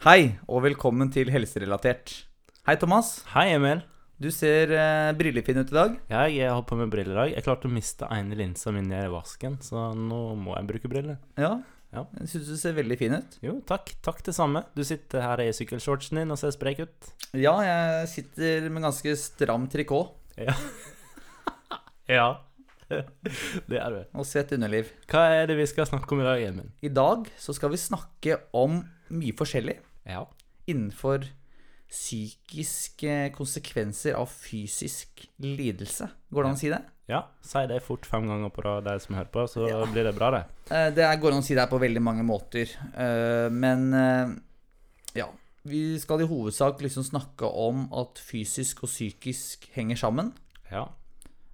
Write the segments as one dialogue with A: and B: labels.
A: Hei, og velkommen til Helserelatert. Hei, Thomas.
B: Hei, Emil.
A: Du ser eh, brillefin ut i dag.
B: Ja, jeg har på meg briller i dag. Jeg klarte å miste ene linsa mi ned i vasken, så nå må jeg bruke briller.
A: Ja.
B: Ja.
A: Jeg syns du ser veldig fin ut.
B: Jo, takk. Takk det samme. Du sitter her i sykkelshortsen din og ser sprek ut.
A: Ja, jeg sitter med ganske stram trikot
B: Ja. Det er du.
A: og svett underliv.
B: Hva er det vi skal snakke om i dag, Emil?
A: I dag så skal vi snakke om mye forskjellig
B: Ja.
A: innenfor psykiske konsekvenser av fysisk lidelse. Går det an å si det?
B: Ja, Si det fort fem ganger på rad, de som hører på, så blir det bra, det.
A: Eh, Det er- går an å si det her på veldig mange måter. eh, Men eh, ja. Vi skal i hovedsak liksom snakke om at fysisk og psykisk henger sammen.
B: Ja.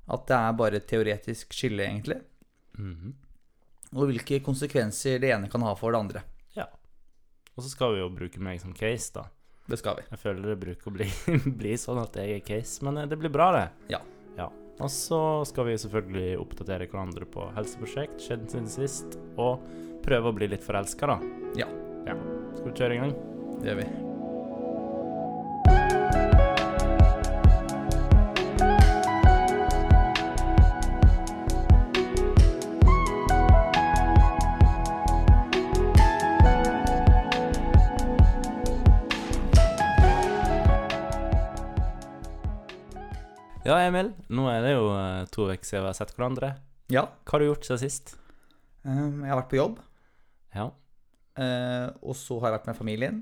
A: At det er bare et teoretisk skille, egentlig.
B: Mhm.
A: Og hvilke konsekvenser det ene kan ha for det andre.
B: ja. Og så skal vi jo bruke meg som case, da.
A: Det skal vi.
B: Jeg føler det bruker å bli, bli sånn at jeg er case, men eh, det blir bra, det.
A: Ja.
B: ja. Og så skal vi selvfølgelig oppdatere hverandre på helseprosjekt, skjedd siden sist, og prøve å bli litt forelska, da.
A: Ja.
B: ja. Skal vi kjøre i gang?
A: Det gjør vi.
B: Ja, Emil, nå er det jo eh, to uker siden vi har sett hverandre.
A: Ja.
B: Hva har du gjort siden sist?
A: ehm, Jeg har vært på jobb,
B: Ja.
A: eh, og så har jeg vært med familien.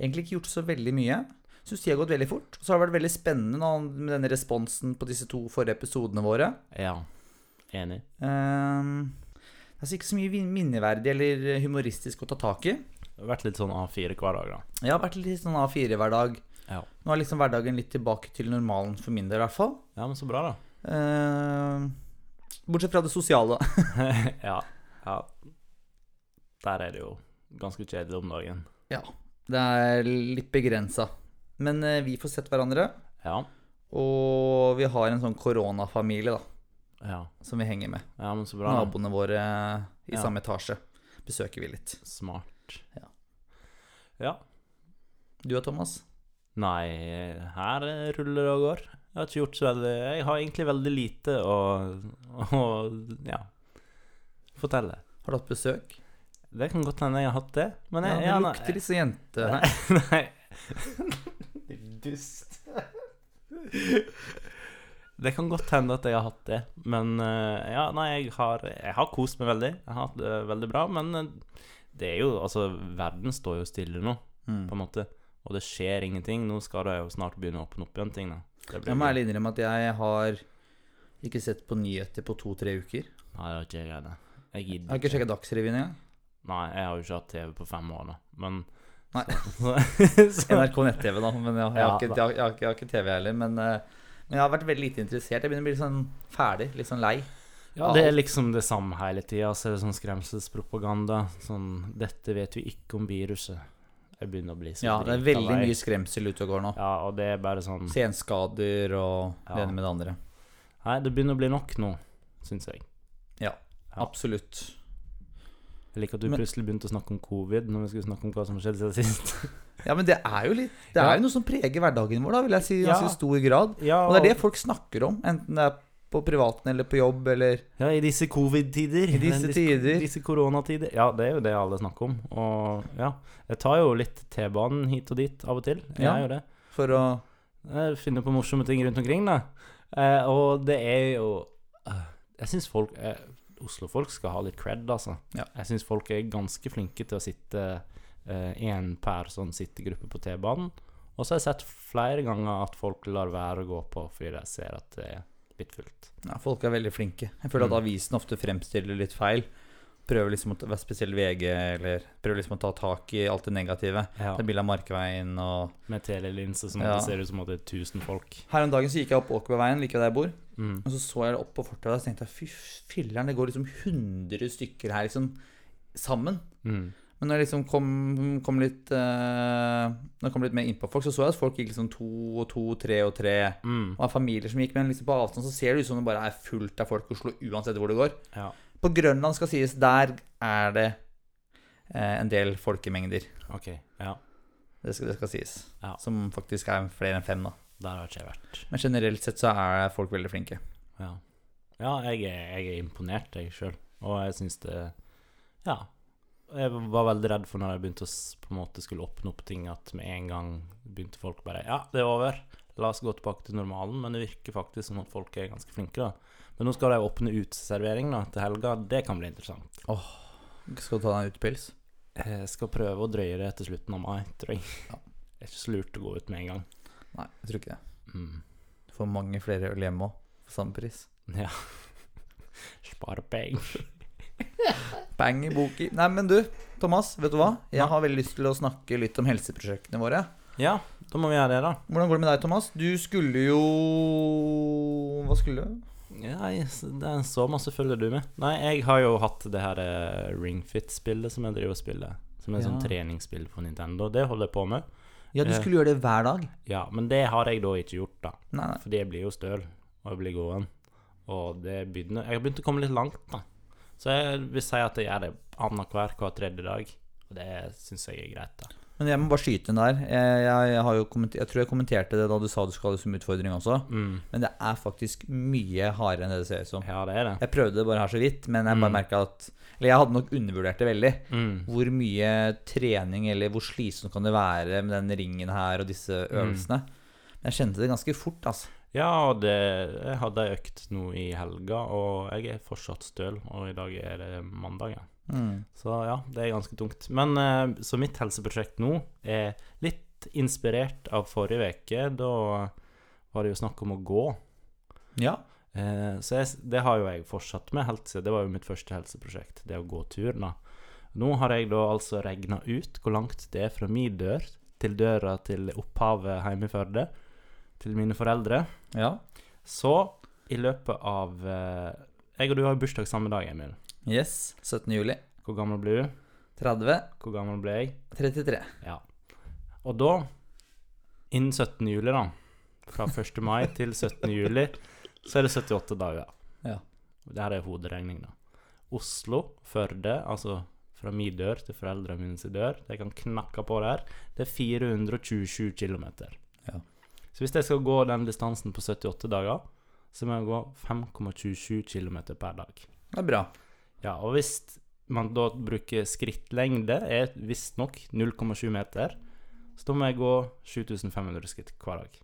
A: Egentlig ikke gjort så veldig mye. Syns de har gått veldig fort. Og så har det vært veldig spennende nå, med denne responsen på disse to forrige episodene våre.
B: Ja. Enig.
A: Ehm, Det er altså ikke så mye vin- minneverdig eller humoristisk å ta tak i.
B: Det har vært litt sånn A4 hver dag, da.
A: Jeg har vært litt sånn A4 hver dag.
B: Ja.
A: Nå er liksom hverdagen litt tilbake til normalen for min del, i hvert fall.
B: Ja, men så bra, da.
A: Ehm, Bortsett fra det sosiale.
B: ja. ja. Der er det jo ganske kjedelig om dagen.
A: Det er litt begrensa. Men eh, vi får sett hverandre,
B: Ja.
A: og vi har en sånn koronafamilie da,
B: Ja.
A: som vi henger med.
B: Ja, men så bra. da.
A: Naboene våre i
B: Ja.
A: samme etasje besøker vi litt.
B: Smart.
A: Ja.
B: Ja.
A: Du og Thomas?
B: Nei, her ruller det og går. Jeg har ikke gjort så veldig Jeg har egentlig veldig lite å, å ja, fortelle.
A: Har du hatt besøk?
B: Det kan godt hende jeg har hatt det, men
A: Ja,
B: jeg,
A: det
B: ja, nei-
A: lukter litt sånn jente her.
B: Nei. Din dust. Det kan godt hende at jeg har hatt det, men eh, ja, nei, jeg har, jeg har kost meg veldig. Jeg har hatt det veldig bra, men eh, det er jo Altså, verden står jo stille nå. på
A: Mm.
B: en måte. Og det skjer ingenting. Nå skal det jo snart begynne å åpne opp igjen ting, da. Det blir
A: Jeg må
B: gøy.
A: ærlig innrømme at jeg har ikke sett på nyheter på to-tre uker.
B: Nei, det er ikke jeg greie. Jeg
A: Jeg har
B: gidder
A: ikke sjekka Dagsrevyen engang.
B: Nei, jeg har jo ikke hatt TV på fem år, da. Men
A: Nei.
B: Så, så,
A: NRK nett-TV, da. Men jeg, jeg, har
B: Ja,
A: ikke, jeg,
B: da.
A: har- jeg, har ikke, jeg har ikke TV heller. Men, eh, men jeg har vært veldig lite interessert. Jeg begynner å bli litt sånn ferdig, litt sånn lei.
B: ja, det er liksom det samme hele tida. Så er det sånn skremselspropaganda. Sånn 'Dette vet vi ikke om viruset'. Jeg begynner å bli så
A: Ja, det er
B: drita
A: veldig
B: lei.
A: mye skremsel ute og går nå. Mm.
B: Ja, og det er bare sånn
A: Senskader og
B: Ja.
A: det ene med det andre.
B: Nei, det begynner å bli nok nå, syns jeg. Ja.
A: Absolutt.
B: Jeg liker at du
A: Men-
B: plutselig begynte å snakke om covid når vi skulle snakke om hva som skjedde siden sist.
A: Ja, men det er jo litt Det er
B: Ja.
A: jo noe som preger hverdagen vår, da, vil jeg si, i
B: Ja.
A: ganske stor grad.
B: ja,
A: Og det er det folk snakker om, enten det er på privaten eller på jobb eller
B: Ja, i disse covid-tider.
A: I disse
B: Disse-
A: tider.
B: Disse koronatider. Ja, det er jo det alle snakker om. Og ja, jeg tar jo litt T-banen hit og dit av og til. Jeg
A: Ja.
B: gjør det.
A: for å
B: Jeg finner på morsomme ting rundt omkring, da. Eh, og det er jo eh, Jeg syns folk eh, Oslo-folk skal ha litt cred, altså.
A: Ja.
B: Jeg syns folk er ganske flinke til å sitte én per sånn sittegruppe på T-banen. Og så har jeg sett flere ganger at folk lar være å gå på fordi de ser at det er litt fullt.
A: Ja, folk er veldig flinke. Jeg føler at
B: Mm.
A: avisen ofte fremstiller litt feil. Prøver liksom å ta- være spesielt VG, eller prøver liksom å ta tak i alt det negative.
B: Ja.
A: Det er bilde av Markveien og
B: Med telelinse som
A: Ja.
B: det ser ut som at det er 1000 folk.
A: Her om dagen så gikk jeg opp Åkerveien, like der jeg bor,
B: Mm.
A: og så så jeg opp på fortauet og så tenkte jeg, fy filler'n, det går liksom 100 stykker her liksom sammen.
B: Mm.
A: Men når jeg liksom kom, kom litt eh, Når jeg kom litt mer innpå folk, så så jeg at folk gikk liksom to og to, tre og tre.
B: Mm.
A: Og det er familier som gikk, men liksom på avstand så ser det ut som det bare er fullt av folk i Oslo uansett hvor det går.
B: Ja,
A: På Grønland skal sies, der er det eh, en del folkemengder.
B: ok. Ja.
A: Det skal, det skal sies.
B: Ja.
A: Som faktisk er flere enn fem, da.
B: Der har ikke jeg vært.
A: Men generelt sett så er folk veldig flinke.
B: Ja, ja jeg, er, jeg er imponert, jeg sjøl. Og jeg syns det Ja. Jeg var veldig redd for når jeg begynte å s- på en måte skulle åpne opp ting, at med en gang begynte folk bare Ja, det er over. La oss gå tilbake til normalen. Men det virker faktisk som at folk er ganske flinke, da. Men nå skal de åpne uteservering da, til helga. Det kan bli interessant.
A: Skal du ta deg en utepils?
B: Jeg Eh, skal prøve å drøye det til slutten av mai, tror jeg.
A: Ja.
B: Det er ikke så lurt å gå ut med en gang.
A: Nei, jeg tror ikke det.
B: Mm.
A: Du får mange flere øl hjemme òg, for samme pris.
B: Ja. Spare penger.
A: Bang i boki. Nei, men du, Thomas, vet du hva? Jeg har veldig lyst til å snakke litt om helseprosjektene våre.
B: Ja, da må vi gjøre det, da.
A: Hvordan går det med deg, Thomas? Du skulle jo Hva skulle du?
B: Ja, jeg- det er en så masse følger du med. Nei, jeg har jo hatt det her eh, Ringfit-spillet som jeg driver og spiller. Som er et sånn
A: Ja.
B: treningsspill på Nintendo. Det holder jeg på med.
A: Ja, du
B: Eh.
A: skulle gjøre det hver dag.
B: Ja, men det har jeg da ikke gjort, da.
A: Nei, nei.
B: Fordi jeg blir jo støl, og jeg blir gåen. Og det begynner Jeg har begynt å komme litt langt, da. Så jeg vil si at jeg gjør det annenhver hver tredje dag. Og det syns jeg er greit, da.
A: Men jeg må bare skyte inn der. Jeg, jeg, jeg, har jo kommenter- jeg tror jeg kommenterte det da du sa du skulle ha det som utfordring også.
B: Mm.
A: Men det er faktisk mye hardere enn det det ser ut som.
B: Ja, det er det.
A: Jeg prøvde det bare her så vidt, men jeg
B: Mm.
A: bare merka at Eller jeg hadde nok undervurdert det veldig.
B: Mm.
A: Hvor mye trening eller hvor slitsomt kan det være med den ringen her og disse øvelsene. Men jeg kjente det ganske fort, altså.
B: Ja, og det, jeg hadde ei økt nå i helga, og jeg er fortsatt støl, og i dag er det mandag. Ja.
A: Mm.
B: Så ja, det er ganske tungt. Men eh, så mitt helseprosjekt nå er litt inspirert av forrige uke. Da var det jo snakk om å gå.
A: Ja.
B: Eh, så jeg, det har jo jeg fortsatt med helt siden. Det var jo mitt første helseprosjekt, det å gå tur. da. Nå har jeg da altså regna ut hvor langt det er fra min dør til døra til opphavet hjemme i Førde, til mine foreldre.
A: ja.
B: Så i løpet av eh, Jeg og du har jo bursdag samme dag, Emil.
A: Yes. 17. juli.
B: Hvor gammel ble du?
A: 30.
B: Hvor gammel ble jeg?
A: 33.
B: Ja. Og da, innen 17. juli, da, fra 1. mai til 17. juli, så er det 78 dager.
A: Ja.
B: Det her er hoderegning, da. Oslo, Førde, altså fra min dør til foreldrene mine sin dør, det kan knakke på der, det er 427 km.
A: Ja.
B: Så hvis jeg skal gå den distansen på 78 dager, så må jeg gå 5,27 km per dag.
A: Det er bra.
B: Ja, og hvis man da bruker skrittlengde, er visstnok 0,7 meter, så da må jeg gå 7500 skritt hver dag.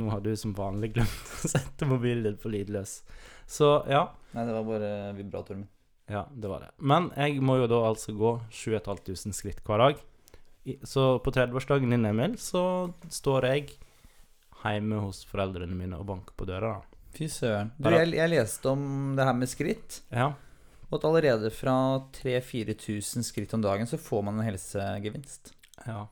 B: Nå har du som vanlig glemt å sette mobilen din på lydløs. Så ja,
A: Nei, det var bare vibratoren min.
B: ja, det var det. Men jeg må jo da altså gå 7500 skritt hver dag. I- Så på 30-årsdagen din, Emil, så står jeg hjemme hos foreldrene mine og banker på døra. da.
A: Fy søren. Du,
B: Bare-
A: jeg, jeg leste om det her med skritt,
B: Ja,
A: og at allerede fra 3000-4000 skritt om dagen så får man en helsegevinst.
B: ja.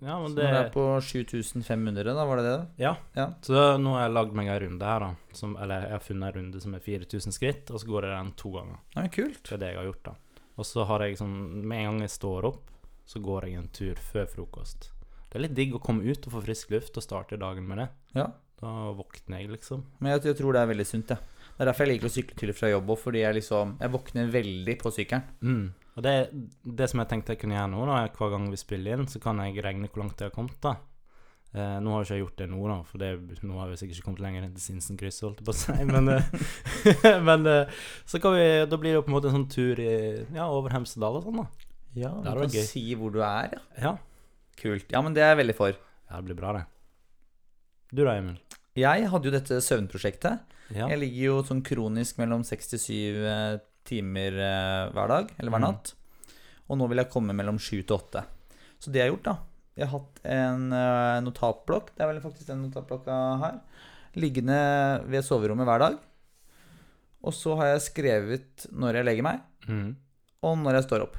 B: Ja,
A: Så
B: men
A: når det er på 7500, da, var det det?
B: Så nå har jeg lagd meg ei runde her, da. Som, eller jeg har funnet ei runde som er 4000 skritt, og så går jeg den to ganger.
A: Nei, men kult.
B: Det er det jeg har gjort, da. Og så har jeg sånn Med en gang jeg står opp, så går jeg en tur før frokost. Det er litt digg å komme ut og få frisk luft og starte dagen med det.
A: Ja.
B: Da våkner jeg, liksom.
A: Men jeg, jeg tror det er veldig sunt, jeg. Det er derfor jeg liker å sykle til og fra jobb òg, fordi jeg liksom Jeg våkner veldig på sykkelen.
B: Mm. Og det, det som jeg tenkte jeg kunne gjøre nå, da, er hver gang vi spiller inn, så kan jeg regne hvor langt jeg har kommet. da. Eh, nå har jo ikke jeg gjort det nå, da, for det, nå har vi sikkert ikke kommet lenger enn til Sinsenkrysset, holdt jeg på å si. Men, eh, men eh, så kan vi, da blir det jo på en måte en sånn tur i, ja, over Hemsedal og sånn, da.
A: Ja,
B: det
A: Du
B: var
A: kan
B: gøy.
A: si hvor du er, ja.
B: Ja,
A: Kult. Ja, men det er jeg veldig for.
B: ja det blir bra, det. Du da, Emil?
A: Jeg hadde jo dette søvnprosjektet.
B: Ja.
A: Jeg ligger jo sånn kronisk mellom 67 timer eh, hver dag, eller hver
B: Mm.
A: natt. Og nå vil jeg komme mellom 7 til 8. Så det jeg har gjort, da Jeg har hatt en eh, notatblokk, det er vel faktisk den notatblokka her, liggende ved soverommet hver dag. Og så har jeg skrevet når jeg legger meg,
B: Mm.
A: og når jeg står opp.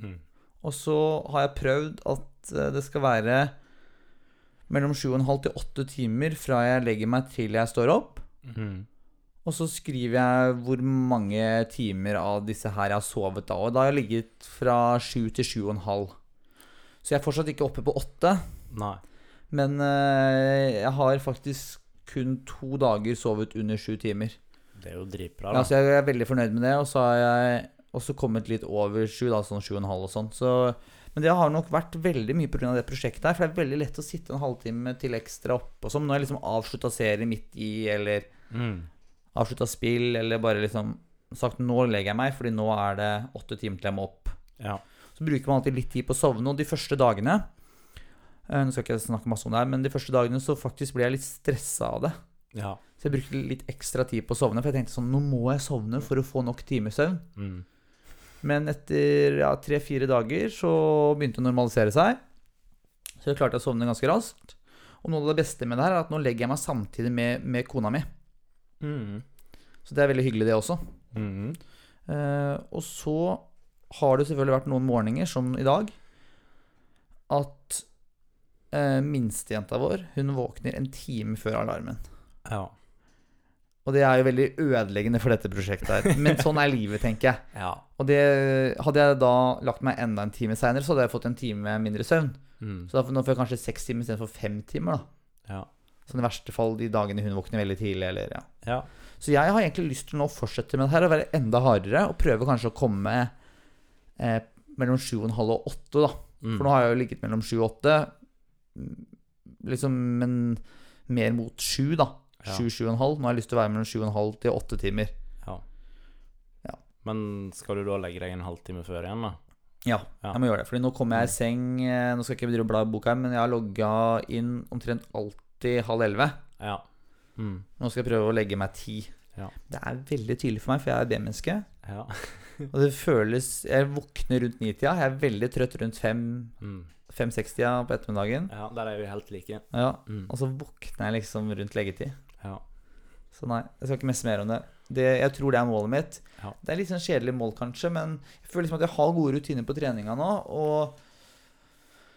B: Mm.
A: Og så har jeg prøvd at eh, det skal være mellom 7,5 til 8 timer fra jeg legger meg til jeg står opp.
B: Mm.
A: Og så skriver jeg hvor mange timer av disse her jeg har sovet da. Og da har jeg ligget fra 7 til 7,5. Så jeg er fortsatt ikke oppe på 8.
B: Nei.
A: Men eh, jeg har faktisk kun to dager sovet under 7 timer.
B: Det er jo dritbra,
A: Ja,
B: da.
A: så jeg er veldig fornøyd med det, og så har jeg også kommet litt over sju, da, sånn sju og en halv og sånn. Så Men det har nok vært veldig mye pga. det prosjektet her. For det er veldig lett å sitte en halvtime til ekstra oppe og sånn. Nå har jeg liksom avslutta serie midt i, eller
B: Mm.
A: avslutta spill, eller bare liksom sagt 'nå legger jeg meg', fordi nå er det åtte timer til jeg må opp.
B: Ja.
A: Så bruker man alltid litt tid på å sovne, og de første dagene eh, Nå skal ikke jeg snakke masse om det her, men de første dagene så faktisk ble jeg litt stressa av det.
B: Ja.
A: Så jeg brukte litt ekstra tid på å sovne, for jeg tenkte sånn Nå må jeg sovne for å få nok timer søvn.
B: Mm.
A: Men etter ja, tre-fire dager så begynte det å normalisere seg. Så jeg klarte å sovne ganske raskt. Og noe av det beste med det her er at nå legger jeg meg samtidig med, med kona mi.
B: Mm.
A: Så det er veldig hyggelig, det også.
B: Mm.
A: Eh, og så har det selvfølgelig vært noen morgener, som i dag, at eh, minstejenta vår hun våkner en time før alarmen.
B: Ja.
A: Og det er jo veldig ødeleggende for dette prosjektet her. Men sånn er livet, tenker jeg.
B: Ja.
A: Og det, hadde jeg da lagt meg enda en time seinere, så hadde jeg fått en time mindre søvn.
B: Mm.
A: Så da, nå får jeg kanskje seks timer istedenfor fem timer, da.
B: Ja.
A: Sånn i verste fall de dagene hun våkner veldig tidlig, eller ja.
B: Ja.
A: Så jeg har egentlig lyst til nå å fortsette med det her og være enda hardere, og prøve kanskje å komme eh, mellom sju og en halv og åtte, da.
B: Mm.
A: For nå har jeg jo ligget mellom sju og åtte, mm, liksom, men mer mot sju, da.
B: Ja.
A: Sju, sju og en halv. Nå har jeg lyst til å være mellom sju og en halv til åtte timer.
B: Men skal du da legge deg en halvtime før igjen, da?
A: Ja,
B: Ja.
A: jeg må gjøre det. Fordi nå kommer jeg i seng eh, Nå skal jeg ikke drive og bla i boka, her, men jeg har logga inn omtrent alltid halv elleve.
B: Ja. Mm.
A: Nå skal jeg prøve å legge meg ti.
B: Ja.
A: Det er veldig tydelig for meg, for jeg er B-menneske.
B: Ja.
A: Og det føles Jeg våkner rundt nitida. Jeg er veldig trøtt rundt fem-
B: Mm.
A: 5-60-tida på ettermiddagen.
B: ja. Der er vi helt like.
A: Ja,
B: Mm.
A: og så våkner jeg liksom rundt leggetid.
B: Ja.
A: Så nei, jeg skal ikke messe mer om det. det. Jeg tror det er målet mitt.
B: Ja.
A: Det er litt sånn kjedelig mål, kanskje, men jeg føler liksom at jeg har gode rutiner på treninga nå. Og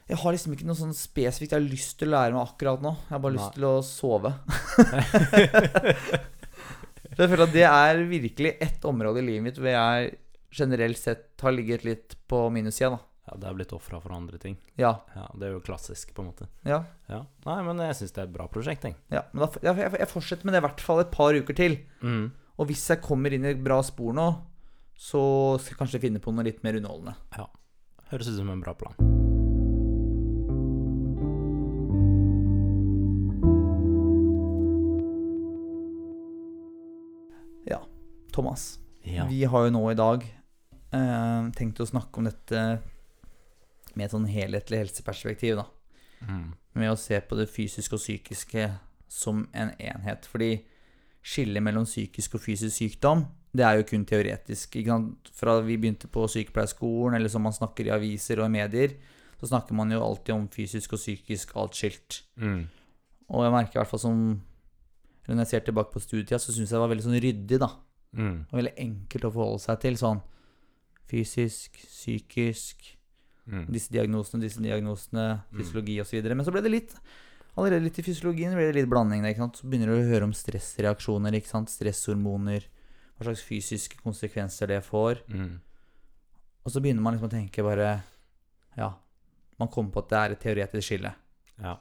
A: jeg har liksom ikke noe sånn spesifikt jeg har lyst til å lære meg akkurat nå. Jeg har bare
B: Nei.
A: lyst til å sove. Så jeg føler at det er virkelig ett område i livet mitt hvor jeg generelt sett har ligget litt på minussida, da.
B: ja det er blitt ofra for andre ting.
A: Ja.
B: Ja, Det er jo klassisk, på en måte.
A: ja.
B: Ja. Nei, men jeg syns det er et bra prosjekt, jeg.
A: Ja, men da, f- jeg, jeg- jeg fortsetter med det i hvert fall et par uker til.
B: Mm.
A: Og hvis jeg kommer inn i et bra spor nå, så skal jeg kanskje finne på noe litt mer underholdende.
B: Høres ut som en bra plan.
A: Thomas,
B: Ja.
A: vi har jo nå i dag eh, tenkt å snakke om dette med et sånn helhetlig helseperspektiv, da.
B: Mm.
A: Med å se på det fysiske og psykiske som en enhet. Fordi skillet mellom psykisk og fysisk sykdom, det er jo kun teoretisk. Ikke sant? Fra vi begynte på sykepleierskolen, eller som man snakker i aviser og i medier, så snakker man jo alltid om fysisk og psykisk atskilt.
B: Mm.
A: Og jeg merker i hvert fall som eller Når jeg ser tilbake på studietida, så syns jeg det var veldig sånn ryddig, da.
B: Mm.
A: Og veldig enkelt å forholde seg til. Sånn fysisk, psykisk,
B: Mm.
A: disse diagnosene, disse diagnosene,
B: Mm.
A: fysiologi osv. Men så ble det litt Allerede litt i fysiologien ble det litt blanding der, ikke sant. Så begynner du å høre om stressreaksjoner, ikke sant. Stresshormoner. Hva slags fysiske konsekvenser det får.
B: Mm.
A: Og så begynner man liksom å tenke bare Ja, man kommer på at det er et teoretisk skille.
B: Ja.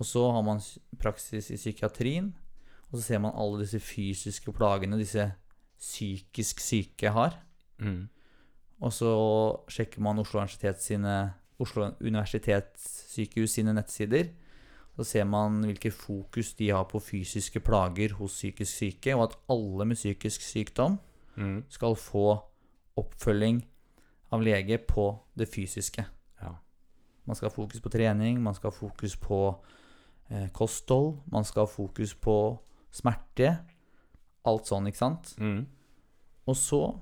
A: Og så har man s- praksis i psykiatrien, og så ser man alle disse fysiske plagene disse psykisk syke har.
B: Mm.
A: Og så sjekker man Oslo Universitet sine Oslo universitetssykehus sine nettsider. Så ser man hvilke fokus de har på fysiske plager hos psykisk syke, og at alle med psykisk sykdom
B: Mm.
A: skal få oppfølging av lege på det fysiske.
B: Ja.
A: Man skal ha fokus på trening, man skal ha fokus på eh, kosthold, man skal ha fokus på smerte. Alt sånn, ikke sant?
B: Mm.
A: Og så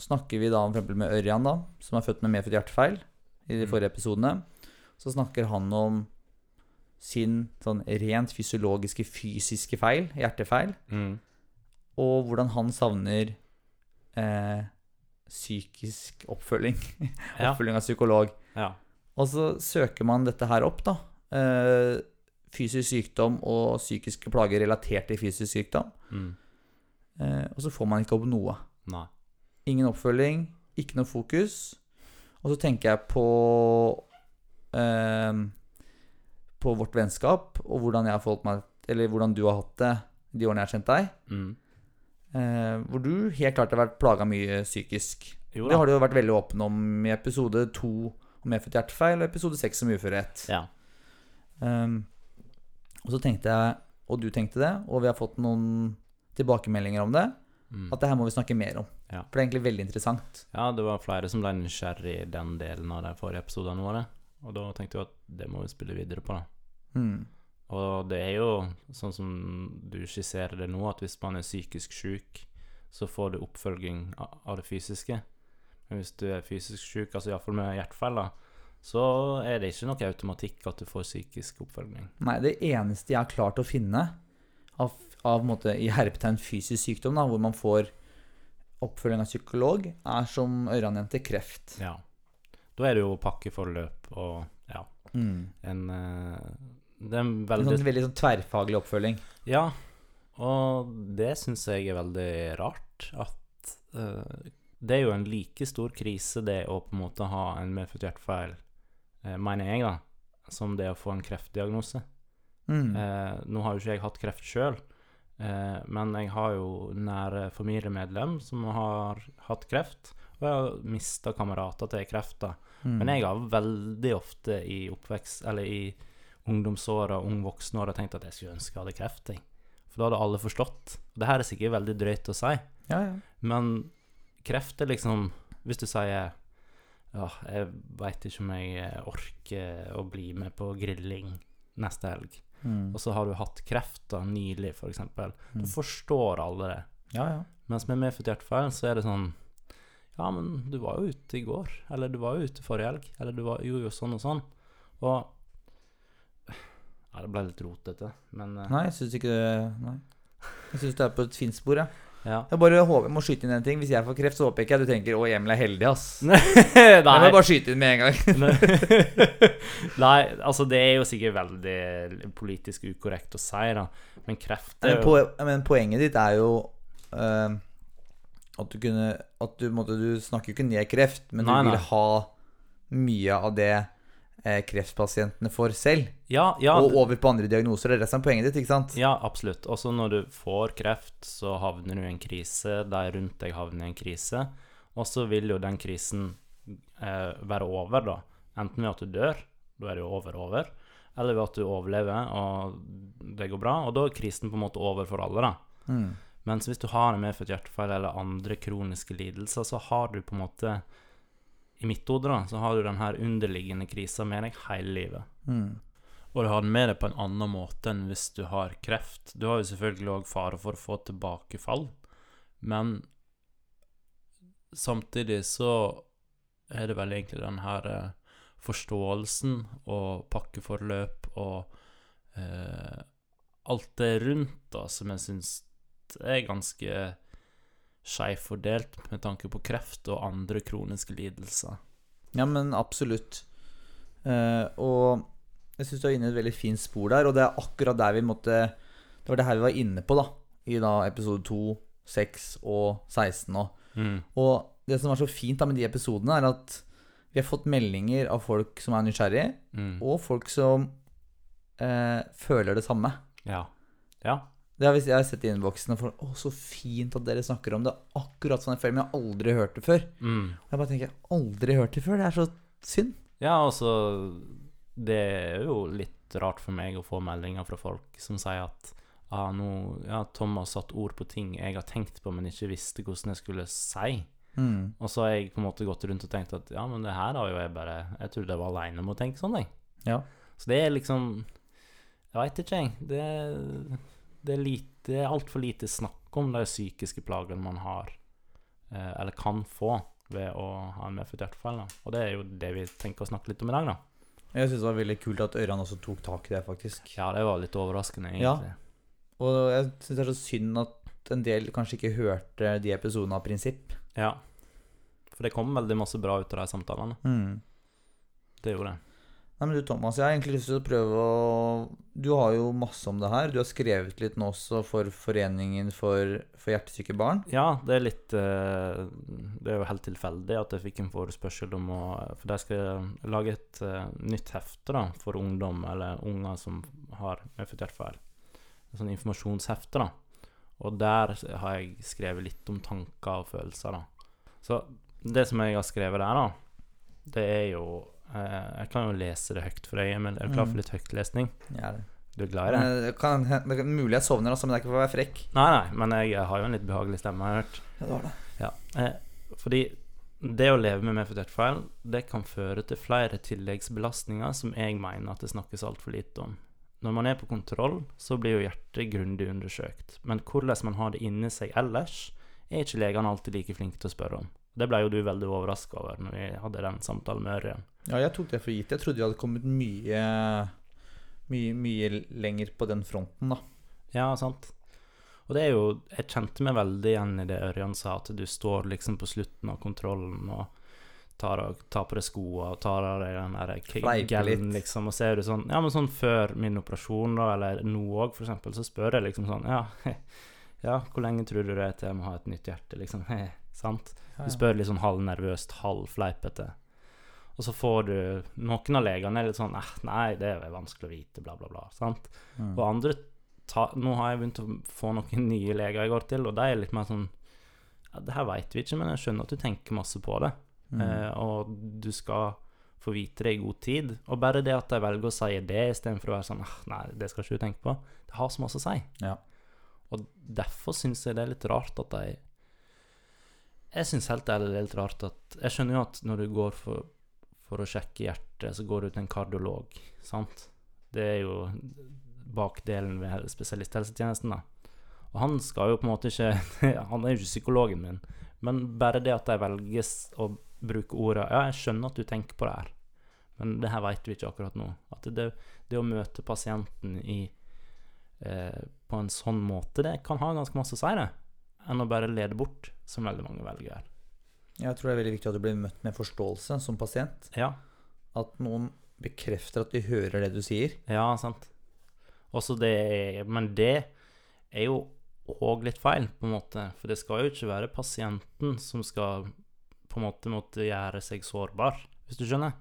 A: snakker vi da om for eksempel med Ørjan, da, som er født med medfødt hjertefeil i de
B: Mm.
A: forrige episodene. Så snakker han om sin sånn rent fysiologiske, fysiske feil, hjertefeil,
B: Mm.
A: og hvordan han savner eh, psykisk oppfølging.
B: Ja.
A: Oppfølging av psykolog.
B: Ja.
A: Og så søker man dette her opp, da. Eh, fysisk sykdom og psykiske plager relatert til fysisk sykdom.
B: Mm.
A: Eh, og så får man ikke opp noe.
B: Nei.
A: Ingen oppfølging, ikke noe fokus. Og så tenker jeg på eh, På vårt vennskap og hvordan jeg har forholdt meg Eller hvordan du har hatt det de årene jeg har kjent deg.
B: Mm.
A: Eh, hvor du helt klart har vært plaga mye psykisk.
B: Jo
A: Det
B: da.
A: har du jo vært veldig åpen om i episode to om medfødt hjertefeil, og episode seks om uførhet.
B: Ja.
A: Ehm, og så tenkte jeg, og du tenkte det, og vi har fått noen tilbakemeldinger om det,
B: Mm.
A: at det her må vi snakke mer om.
B: Ja.
A: For det er egentlig veldig interessant.
B: ja, det var flere som ble nysgjerrig i den delen av de forrige episodene våre. Og da tenkte jeg at det må vi spille videre på, da.
A: Mm.
B: Og det er jo sånn som du skisserer det nå, at hvis man er psykisk syk, så får du oppfølging a- av det fysiske. Men hvis du er fysisk syk, altså iallfall med hjertefeil, da, så er det ikke noe automatikk at du får psykisk oppfølging.
A: Nei, det eneste jeg har klart å finne av, av på en måte, i herpetegn fysisk sykdom, da, hvor man får oppfølging av psykolog, er som Ørjan nevnte, kreft.
B: Ja. Da er det jo pakkeforløp og ja,
A: Mm.
B: en eh, Det er en
A: En
B: veldig
A: sånn, veldig sånn tverrfaglig oppfølging.
B: Ja, og det syns jeg er veldig rart. At eh, det er jo en like stor krise, det å på en måte ha en medfødt hjertefeil, eh, mener jeg, da, som det å få en kreftdiagnose.
A: Mm.
B: Eh, nå har jo ikke jeg hatt kreft sjøl, eh, men jeg har jo nære familiemedlem som har hatt kreft. Og jeg har mista kamerater til kreft, da.
A: Mm.
B: Men jeg har veldig ofte i oppvekst, eller i ungdomsåra, ung voksenåra, tenkt at jeg skulle ønske jeg hadde kreft. Jeg. For da hadde alle forstått. Det her er sikkert veldig drøyt å si,
A: ja, ja.
B: men kreft er liksom Hvis du sier ja, jeg veit ikke om jeg orker å bli med på grilling neste helg,
A: Mm.
B: og så har du hatt kreft da, nylig, f.eks.,
A: Mm.
B: da forstår alle det.
A: ja, ja.
B: Mens med medfødt hjertefeil så er det sånn Ja, men du var jo ute i går. Eller du var jo ute forrige helg. Eller du var, gjorde jo sånn og sånn. Og Ja, det ble litt rotete, men eh,
A: Nei, jeg syns ikke det Nei. Jeg syns du er på et fint spor, jeg.
B: ja.
A: Jeg bare håper, jeg må skyte inn en ting. Hvis jeg får kreft, så håper jeg ikke at du tenker 'Å, Emil er heldig', ass.
B: Nei.
A: Jeg må bare skyte inn med en gang.
B: Nei, altså det er jo sikkert veldig politisk ukorrekt å si, da. Men kreft
A: Men,
B: er jo
A: po men poenget ditt er jo eh, at du kunne At du, på en måte, du snakker jo ikke ned kreft, men
B: Nei,
A: du
B: nei.
A: vil ha mye av det eh, kreftpasientene får selv,
B: Ja, ja,
A: og over på andre diagnoser. Det er det som er poenget ditt, ikke sant?
B: Ja, absolutt. Også når du får kreft, så havner du i en krise. De rundt deg havner i en krise. Og så vil jo den krisen eh, være over, da. Enten ved at du dør, da er det jo over, over. Eller ved at du overlever, og det går bra. Og da er krisen på en måte over for alle, da.
A: Mm.
B: Mens hvis du har en medfødt hjertefeil eller andre kroniske lidelser, så har du på en måte I mitt hode, da, så har du den her underliggende krisa med deg hele livet.
A: Mm.
B: Og du har den med deg på en annen måte enn hvis du har kreft. Du har jo selvfølgelig òg fare for å få tilbakefall, men samtidig så er det vel egentlig den her eh, forståelsen og pakkeforløp og eh, alt det rundt, da, som jeg syns er ganske skeivt fordelt med tanke på kreft og andre kroniske lidelser.
A: Ja, men absolutt. Eh, og jeg syns du er inne i et veldig fint spor der, og det er akkurat der vi måtte Det var det her vi var inne på, da, i da episode 2, 6 og 16 nå.
B: Mm,
A: Og det som var så fint da med de episodene, er at vi har fått meldinger av folk som er nysgjerrige,
B: Mm.
A: og folk som eh, føler det samme.
B: Ja. Ja.
A: Det har vi, jeg har sett i innboksen, og folk 'Å, så fint at dere snakker om det.' Akkurat sånn jeg føler, men jeg har aldri hørt det før.
B: Mm.
A: Og jeg bare tenker 'Aldri hørt det før', det er så synd.
B: Ja, altså Det er jo litt rart for meg å få meldinger fra folk som sier at ah, nå, ja, Tom har satt ord på ting jeg har tenkt på, men ikke visste hvordan jeg skulle si.
A: Mm.
B: Og så har jeg på en måte gått rundt og tenkt at ja, men det her har jo jeg bare Jeg trodde jeg var aleine om å tenke sånn, jeg.
A: Ja.
B: Så det er liksom Jeg veit ikke, jeg. Det, det er lite Det er altfor lite snakk om de psykiske plagene man har, eh, eller kan få, ved å ha en medfødt hjertefeil. da. Og det er jo det vi tenker å snakke litt om i dag, da.
A: Jeg syns det var veldig kult at Ørjan også tok tak i det, faktisk.
B: Ja, det var litt overraskende,
A: Ja.
B: egentlig.
A: Og jeg syns det er så synd at en del kanskje ikke hørte de episodene av prinsipp.
B: Ja. For det kom veldig masse bra ut av de samtalene.
A: Mm.
B: Det gjorde det.
A: Nei, men du Thomas, jeg har egentlig lyst til å prøve å Du har jo masse om det her. Du har skrevet litt nå også for Foreningen for, for hjertesyke barn.
B: Ja, det er litt eh, Det er jo helt tilfeldig at jeg fikk en forespørsel om å For de skal lage et eh, nytt hefte da, for ungdom, eller unger som har medfødt hjertefeil. Et sånt informasjonshefte, da. Og der har jeg skrevet litt om tanker og følelser, da. Så det som jeg har skrevet der, da, det er jo Eh, Jeg kan jo lese det høyt for deg, Emil. Er du klar
A: Mm.
B: for litt høytlesning?
A: Jeg er det.
B: Du er glad i det?
A: Men eh, Det kan, det er mulig jeg sovner, altså, men det er ikke for å være frekk.
B: Nei, nei, men jeg har jo en litt behagelig stemme, har jeg hørt.
A: Ja, det var det.
B: Ja, eh, fordi det å leve med medfødt hjertefeil, det kan føre til flere tilleggsbelastninger som jeg mener at det snakkes altfor lite om. Når man er på kontroll, så blir jo hjertet grundig undersøkt, men hvordan man har det inni seg ellers, er ikke legene alltid like flinke til å spørre om. Det ble jo du veldig overraska over når vi hadde den samtalen med Ørjan.
A: Ja, jeg tok det for gitt. Jeg trodde vi hadde kommet mye, mye, mye lenger på den fronten, da.
B: Ja, sant. Og det er jo Jeg kjente meg veldig igjen i det Ørjan sa, at du står liksom på slutten av kontrollen og tar, av, tar på deg skoene og tar av deg den der
A: Fleiper
B: kegelen,
A: litt.
B: liksom, og ser du sånn Ja, men sånn før min operasjon, da, eller nå òg, for eksempel, så spør jeg liksom sånn Ja, ja hvor lenge tror du det er til jeg må ha et nytt hjerte, liksom? sant? Du spør litt sånn halvnervøst, halvfleipete. Og så får du Noen av legene er litt sånn eh, Nei, det er vel vanskelig å vite, bla, bla, bla. sant?
A: Mm.
B: Og andre ta, Nå har jeg begynt å få noen nye leger jeg går til, og de er litt mer sånn ja, Det her veit vi ikke, men jeg skjønner at du tenker masse på det.
A: Mm.
B: Eh, og du skal få vite det i god tid. Og bare det at de velger å si det istedenfor å være sånn «Ah, Nei, det skal ikke du tenke på. Det har så masse å si.
A: Ja.
B: Og derfor syns jeg det er litt rart at de Jeg syns helt ærlig det er litt rart at Jeg skjønner jo at når du går for, for å sjekke hjertet, så går du til en kardiolog, sant? Det er jo bakdelen ved spesialisthelsetjenesten, da. Og han skal jo på en måte ikke Han er jo ikke psykologen min. Men bare det at de velges å bruke ordet Ja, jeg skjønner at du tenker på det her, men det her vet vi ikke akkurat nå. At det, det å møte pasienten i eh, på en sånn måte, det kan ha ganske masse å si, det. Enn å bare lede bort, som veldig mange velger.
A: Jeg tror det er veldig viktig at du blir møtt med forståelse som pasient.
B: Ja,
A: At noen bekrefter at de hører det du sier.
B: ja, sant. Også det Men det er jo òg litt feil, på en måte. For det skal jo ikke være pasienten som skal på en måte måtte gjøre seg sårbar, hvis du skjønner.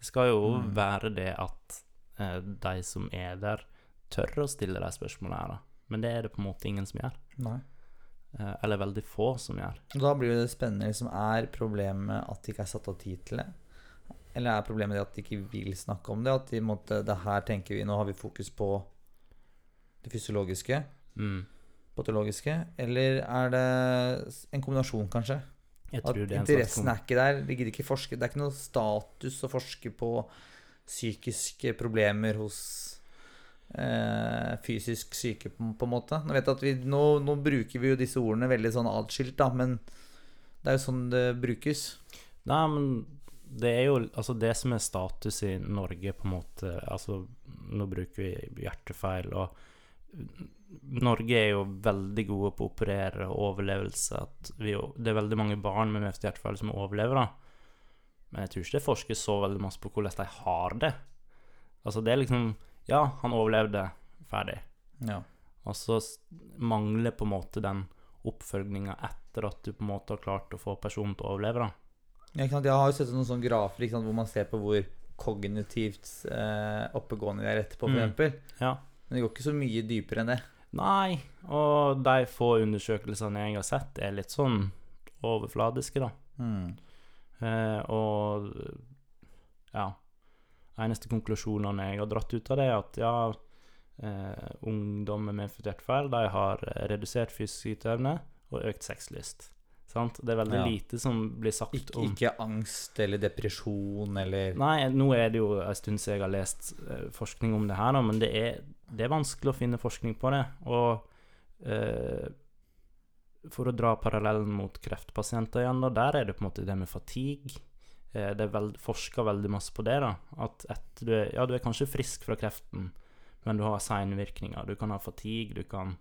B: Det skal jo
A: Mm.
B: være det at eh, de som er der, tør å stille de spørsmålene her, da. Men det er det på en måte ingen som gjør.
A: Nei.
B: Eh, eller veldig få som gjør.
A: Og Da blir jo det spennende. Liksom, er problemet at det ikke er satt av tid til det? Eller er problemet det at de ikke vil snakke om det? At de måtte, det her tenker vi, nå har vi fokus på det fysiologiske,
B: Mm.
A: patologiske. Eller er det s- en kombinasjon, kanskje?
B: Jeg
A: At
B: tror det er en slags
A: interessen er ikke der. De gidder ikke forske. Det er ikke noe status å forske på psykiske problemer hos eh, fysisk syke, på, på en måte. Nå, vet jeg at vi, nå, nå bruker vi jo disse ordene veldig sånn atskilt, da, men det er jo sånn det brukes.
B: Nei, men det er jo altså det som er status i Norge, på en måte Altså, nå bruker vi hjertefeil, og Norge er jo veldig gode på å operere og overlevelse. At vi, jo- det er veldig mange barn med mest hjertefeil som overlever, da. Men jeg tror ikke det forskes så veldig masse på hvordan de har det. Altså, det er liksom Ja, han overlevde. Ferdig.
A: Ja.
B: Og så s- mangler på en måte den oppfølginga etter at du på en måte har klart å få personen til å overleve, da.
A: ikke sant? Jeg har jo sett noen sånne grafer ikke sant, hvor man ser på hvor kognitivt eh, oppegående de er etterpå, for
B: Mm.
A: eksempel.
B: Ja.
A: Men det går ikke så mye dypere enn det.
B: Nei, og de få undersøkelsene jeg har sett, er litt sånn overfladiske, da.
A: Mm.
B: Eh, og ja Eneste konklusjonene jeg har dratt ut av det, er at ja, eh, ungdom med medfødt hjertefeil de har redusert fysisk yteevne og økt sexlyst. Sant? Det er veldig
A: Ja.
B: lite som blir sagt
A: Ikke,
B: om
A: ikke angst eller depresjon eller
B: Nei, nå er det jo en stund siden jeg har lest eh, forskning om det her, da, men det er, det er vanskelig å finne forskning på det. Og eh, for å dra parallellen mot kreftpasienter igjen, da, der er det på en måte det med fatigue. Eh, det er vel, forska veldig masse på det. da, at etter du, er- Ja, du er kanskje frisk fra kreften, men du har seinvirkninger. Du kan ha fatigue, du kan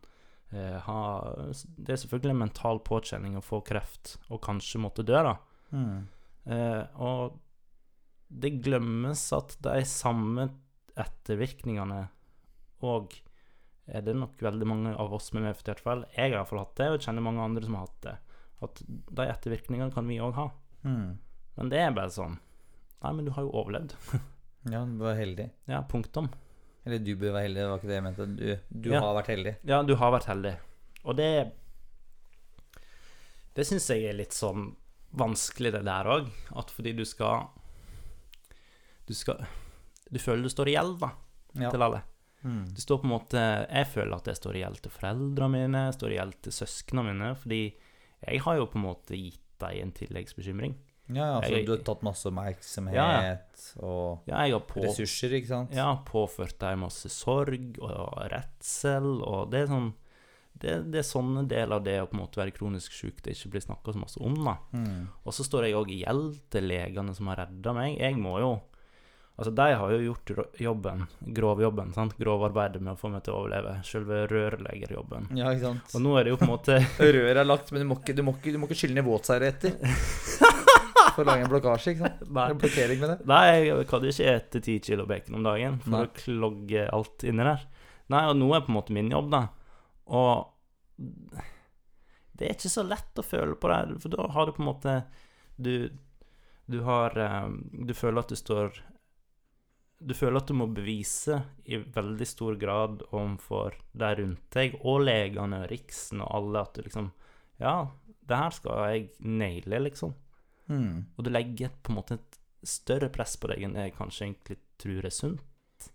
B: eh, ha Det er selvfølgelig en mental påkjenning å få kreft og kanskje måtte dø, da.
A: Mm.
B: Eh, og det glemmes at de samme ettervirkningene og er det nok veldig mange av oss med medfødt hjertefeil Jeg har iallfall hatt det, og jeg kjenner mange andre som har hatt det. At de ettervirkningene kan vi òg ha.
A: Mm.
B: Men det er bare sånn Nei, men du har jo overlevd.
A: Ja, du var heldig.
B: Ja, punktum.
A: Eller du bør være heldig, det var ikke det jeg mente. Du, du
B: Ja.
A: har vært heldig.
B: Ja, du har vært heldig. Og det Det syns jeg er litt sånn vanskelig, det der òg. At fordi du skal Du skal Du føler du står i gjeld, da,
A: Ja.
B: til alle.
A: Mm.
B: Du står på en måte Jeg føler at jeg står i gjeld til foreldrene mine, jeg står i gjeld til søsknene mine, fordi jeg har jo på en måte gitt deg en tilleggsbekymring.
A: Ja, ja, så
B: Jeg-
A: du har tatt masse oppmerksomhet
B: Ja,
A: og
B: Ja, jeg har på,
A: ressurser, ikke sant?
B: ja, påført deg masse sorg og redsel, og det er sånn det, det er sånne deler av det å på en måte være kronisk syk det ikke blir snakka så masse om. da.
A: Mm.
B: Og så står jeg òg i gjeld til legene som har redda meg. Jeg må jo Altså, de har jo gjort ro- jobben, grovjobben, sant? grovarbeidet med å få meg til å overleve. Selve rørleggerjobben.
A: Ja, ikke sant?
B: Og nå er det jo på en måte
A: Røret er lagt, men du må ikke, du må ikke, du må ikke skylle ned våtseiret etter. For å lage en blokkasje, ikke sant?
B: Nei.
A: En blokkering med det.
B: Nei, jeg kan jo ikke ete ti kilo bacon om dagen for
A: Nei.
B: å klogge alt inni der. Nei, og nå er på en måte min jobb, da. Og det er ikke så lett å føle på det, for da har du på en måte Du, du har eh, Du føler at du står Du føler at du må bevise i veldig stor grad overfor de rundt deg, og legene, Riksen og alle, at du liksom Ja, det her skal jeg naile, liksom.
A: Mm.
B: Og du legger et- på en måte et større press på deg enn jeg kanskje egentlig tror er sunt.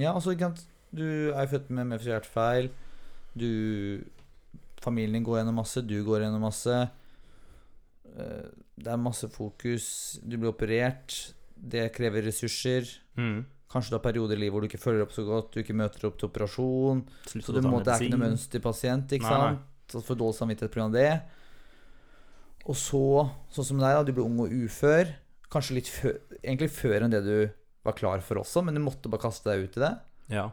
A: Ja, altså, ikke sant? Du er født med med hjertefeil. Du Familien din går gjennom masse, du går gjennom masse. Eh, Det er masse fokus. Du blir operert. Det krever ressurser.
B: Mm.
A: Kanskje du har perioder i livet hvor du ikke følger opp så godt, du ikke møter opp til operasjon.
B: Slutt
A: Så
B: å
A: du
B: ta
A: måtte er ikke noe
B: medisin.
A: mønsterpasient, ikke
B: Nei, nei.
A: sant? Så får dårlig samvittighet pga. det. Og så, sånn som deg, da. Du ble ung og ufør. Kanskje litt før, egentlig før enn det du var klar for også, men du måtte bare kaste deg ut i det.
B: Ja.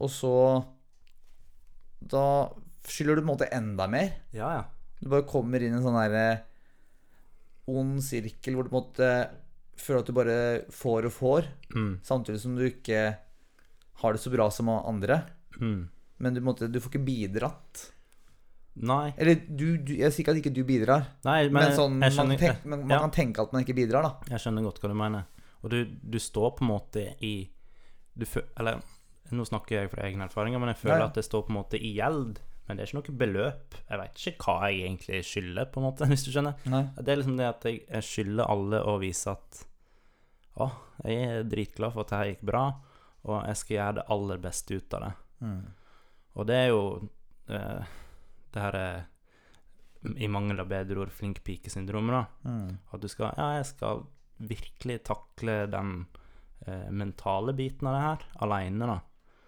A: Og så Da skylder du på en måte enda mer.
B: ja, ja.
A: Du bare kommer inn i en sånn derre ond sirkel hvor du på en måte føler at du bare får og får,
B: Mm.
A: samtidig som du ikke har det så bra som andre.
B: Mm.
A: Men du, på en måte, du får ikke bidratt.
B: Nei,
A: Eller du, du Jeg sier ikke at ikke du bidrar,
B: nei,
A: men,
B: men,
A: sånn,
B: jeg, skjønner,
A: man, tenk, men man
B: ja.
A: kan tenke at man ikke bidrar, da.
B: jeg skjønner godt hva du mener. Og du, du står på en måte i du fø, Eller nå snakker jeg fra egne erfaringer, men jeg føler
A: Ja, ja.
B: at jeg står på en måte i gjeld. Men det er ikke noe beløp. Jeg vet ikke hva jeg egentlig skylder, på en måte, hvis du skjønner.
A: Nei.
B: Det er liksom det at jeg, jeg skylder alle å vise at Å, jeg er dritglad for at det her gikk bra, og jeg skal gjøre det aller beste ut av det.
A: Mm.
B: Og det er jo eh, det her er, I mangel av bedre ord flink pike-syndromet, da.
A: Mm.
B: At du skal Ja, jeg skal virkelig takle den eh, mentale biten av det her aleine, da.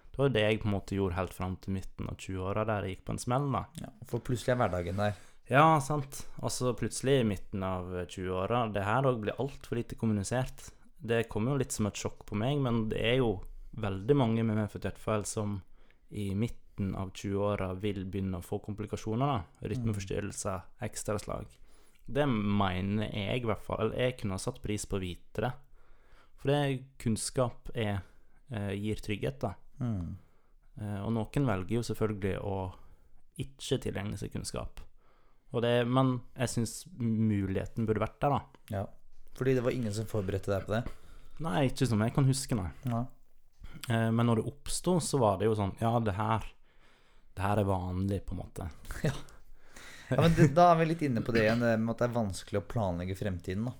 B: Det var jo det jeg på en måte gjorde helt fram til midten av 20-åra, der jeg gikk på en smell, da.
A: Ja, for plutselig er hverdagen der.
B: Ja, sant. Og så plutselig i midten av 20-åra Det her òg blir altfor lite kommunisert. Det kom jo litt som et sjokk på meg, men det er jo veldig mange med medfødt hjertefeil som i midten av 20-åra vil begynne å få komplikasjoner. da. Rytmeforstyrrelser, ekstraslag. Det mener jeg i hvert fall. Eller jeg kunne ha satt pris på å vite det. For det kunnskap er, eh, gir trygghet, da.
A: Mm.
B: Eh, Og noen velger jo selvfølgelig å ikke tilegne seg kunnskap. Og det, men jeg syns muligheten burde vært der, da.
A: Ja. Fordi det var ingen som forberedte deg på det.
B: Nei, ikke som jeg kan huske, nei.
A: Ja.
B: Eh, Men når det oppsto, så var det jo sånn Ja, det her Det her er vanlig, på en måte.
A: Ja, men det, da er vi litt inne på det igjen, det med at det er vanskelig å planlegge fremtiden. da.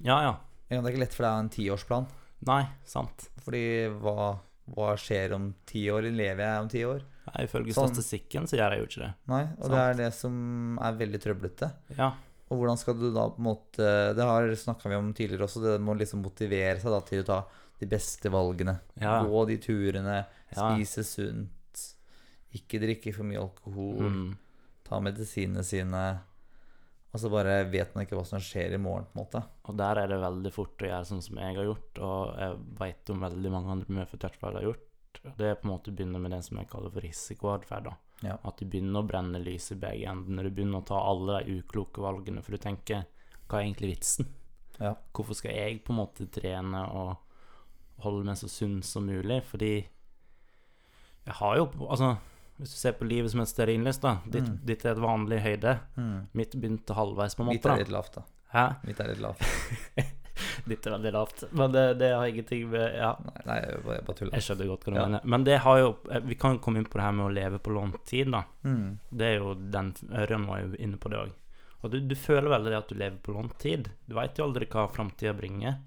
B: Ja, ja.
A: Ja, Det er ikke lett for deg å ha en tiårsplan.
B: Nei, sant.
A: Fordi hva, hva skjer om ti år? Lever jeg om ti år?
B: Nei, Ifølge
A: Sånn.
B: statistikken så gjør jeg jo ikke det.
A: Nei, og det er det som er veldig trøblete.
B: Ja,
A: Og hvordan skal du da på en måte Det har snakka vi om tidligere også, det må liksom motivere seg da til å ta de beste valgene.
B: Ja.
A: Gå de turene,
B: Ja.
A: spise sunt, ikke drikke for mye alkohol,
B: mm.
A: ta medisinene sine. Og så bare vet man ikke hva som skjer i morgen, på en måte.
B: Og der er det veldig fort å gjøre sånn som jeg har gjort, og jeg veit om veldig mange andre med fortørtferd har gjort. Og Det er på en måte å begynne med det som jeg kaller for risikoatferd. da.
A: Ja.
B: At du begynner å brenne lys i begge ender. Du begynner å ta alle de ukloke valgene, for du tenker hva er egentlig vitsen?
A: Ja.
B: Hvorfor skal jeg på en måte trene og holde meg så sunn som mulig? Fordi jeg har jo Altså, hvis du ser på livet som et stearinlys, da. Ditt,
A: Mm.
B: ditt er et vanlig høyde.
A: Mm.
B: Mitt begynte halvveis, på en
A: Mitt
B: måte.
A: er
B: da.
A: litt lavt, da.
B: Hæ?
A: Mitt er litt lavt.
B: Litt veldig lavt. Men det, det har ingenting med Ja,
A: Nei, nei jeg bare, jeg bare tuller.
B: jeg skjønner godt hva du
A: Ja.
B: mener. Men det har jo eh, Vi kan jo komme inn på det her med å leve på lånt tid, da.
A: Mm.
B: Det er jo den Ørjan var jo inne på det òg. Og du, du føler veldig det at du lever på lånt tid. Du veit jo aldri hva framtida bringer.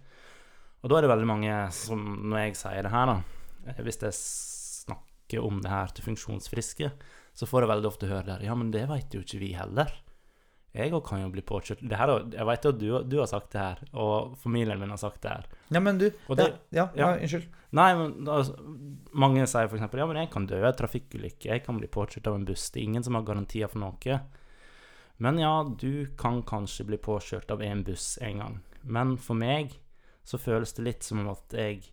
B: Og da er det veldig mange som, når jeg sier det her, da eh, Hvis jeg snakker om det her til funksjonsfriske, så får jeg veldig ofte høre der Ja, men det veit jo ikke vi heller. Jeg òg kan jo bli påkjørt. Det her, har- jeg veit jo at du, du har sagt det her, og familien min har sagt det her.
A: Ja, men du
B: Og
A: det,
B: det-
A: ja, ja,
B: ja.
A: unnskyld.
B: Nei, men altså, mange sier f.eks.: Ja, men jeg kan dø i en trafikkulykke. Jeg kan bli påkjørt av en buss. Det er ingen som har garantier for noe. Men ja, du kan kanskje bli påkjørt av en buss en gang. Men for meg så føles det litt som om at jeg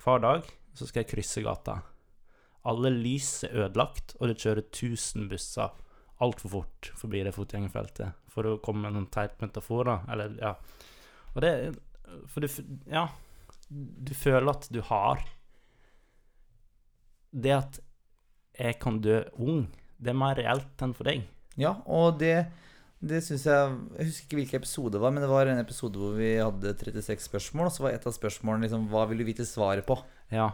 B: hver dag så skal jeg krysse gata. Alle lys er ødelagt, og det kjører 1000 busser altfor fort forbi det fotgjengerfeltet. For å komme med en sånn teit metafor, da. Eller, ja. Og det For du f- Ja. Du føler at du har Det at jeg kan dø ung, det er mer reelt enn for deg.
A: Ja, og det, det syns jeg Jeg husker ikke hvilken episode det var, men det var en episode hvor vi hadde 36 spørsmål, og så var et av spørsmålene liksom Hva vil du vite svaret på?
B: Ja.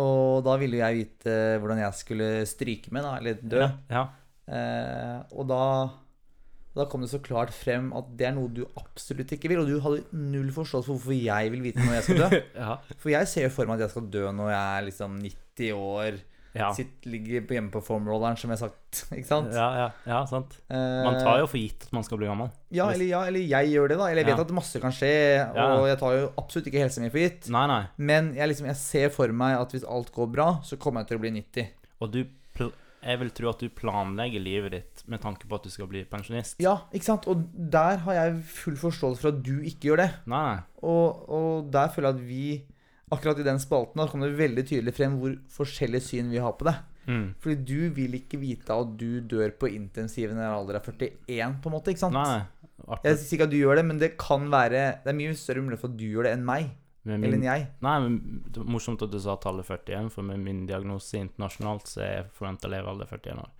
A: Og da ville jeg vite hvordan jeg skulle stryke med, da, eller dø.
B: Ja.
A: Eh, og da da kom det så klart frem at det er noe du absolutt ikke vil. Og du hadde null forståelse for hvorfor jeg vil vite når jeg skal dø.
B: Ja.
A: For jeg ser jo for meg at jeg skal dø når jeg er liksom 90 år,
B: Ja.
A: sitt, ligger på hjemme på formrolleren, som jeg har sagt. Ikke sant?
B: Ja, ja, ja, sant.
A: Eh,
B: Man tar jo for gitt at man skal bli gammel.
A: Ja, eller, ja, eller jeg gjør det, da. Eller jeg vet
B: Ja.
A: at masse kan skje, og
B: Ja. Mm.
A: jeg tar jo absolutt ikke helsa mi for gitt.
B: Nei, nei.
A: Men jeg, liksom, jeg ser for meg at hvis alt går bra, så kommer jeg til å bli 90.
B: Og du pl Jeg vil tro at du planlegger livet ditt med tanke på at du skal bli pensjonist.
A: Ja, ikke sant? Og der har jeg full forståelse for at du ikke gjør det.
B: Nei, nei.
A: Og, og der føler jeg at vi, akkurat i den spalten, da kom det veldig tydelig frem hvor forskjellig syn vi har på det.
B: Mm.
A: Fordi du vil ikke vite at du dør på intensiven i en alder av 41, på en måte. ikke sant?
B: Nei, nei. Artig.
A: Jeg sier ikke at du gjør det, men det kan være Det er mye større mulighet for at du gjør det enn meg.
B: Med
A: Eller
B: min,
A: enn jeg.
B: nei, men det var morsomt at du sa tallet 41, for med min diagnose internasjonalt så er jeg forventa levealder 41 år.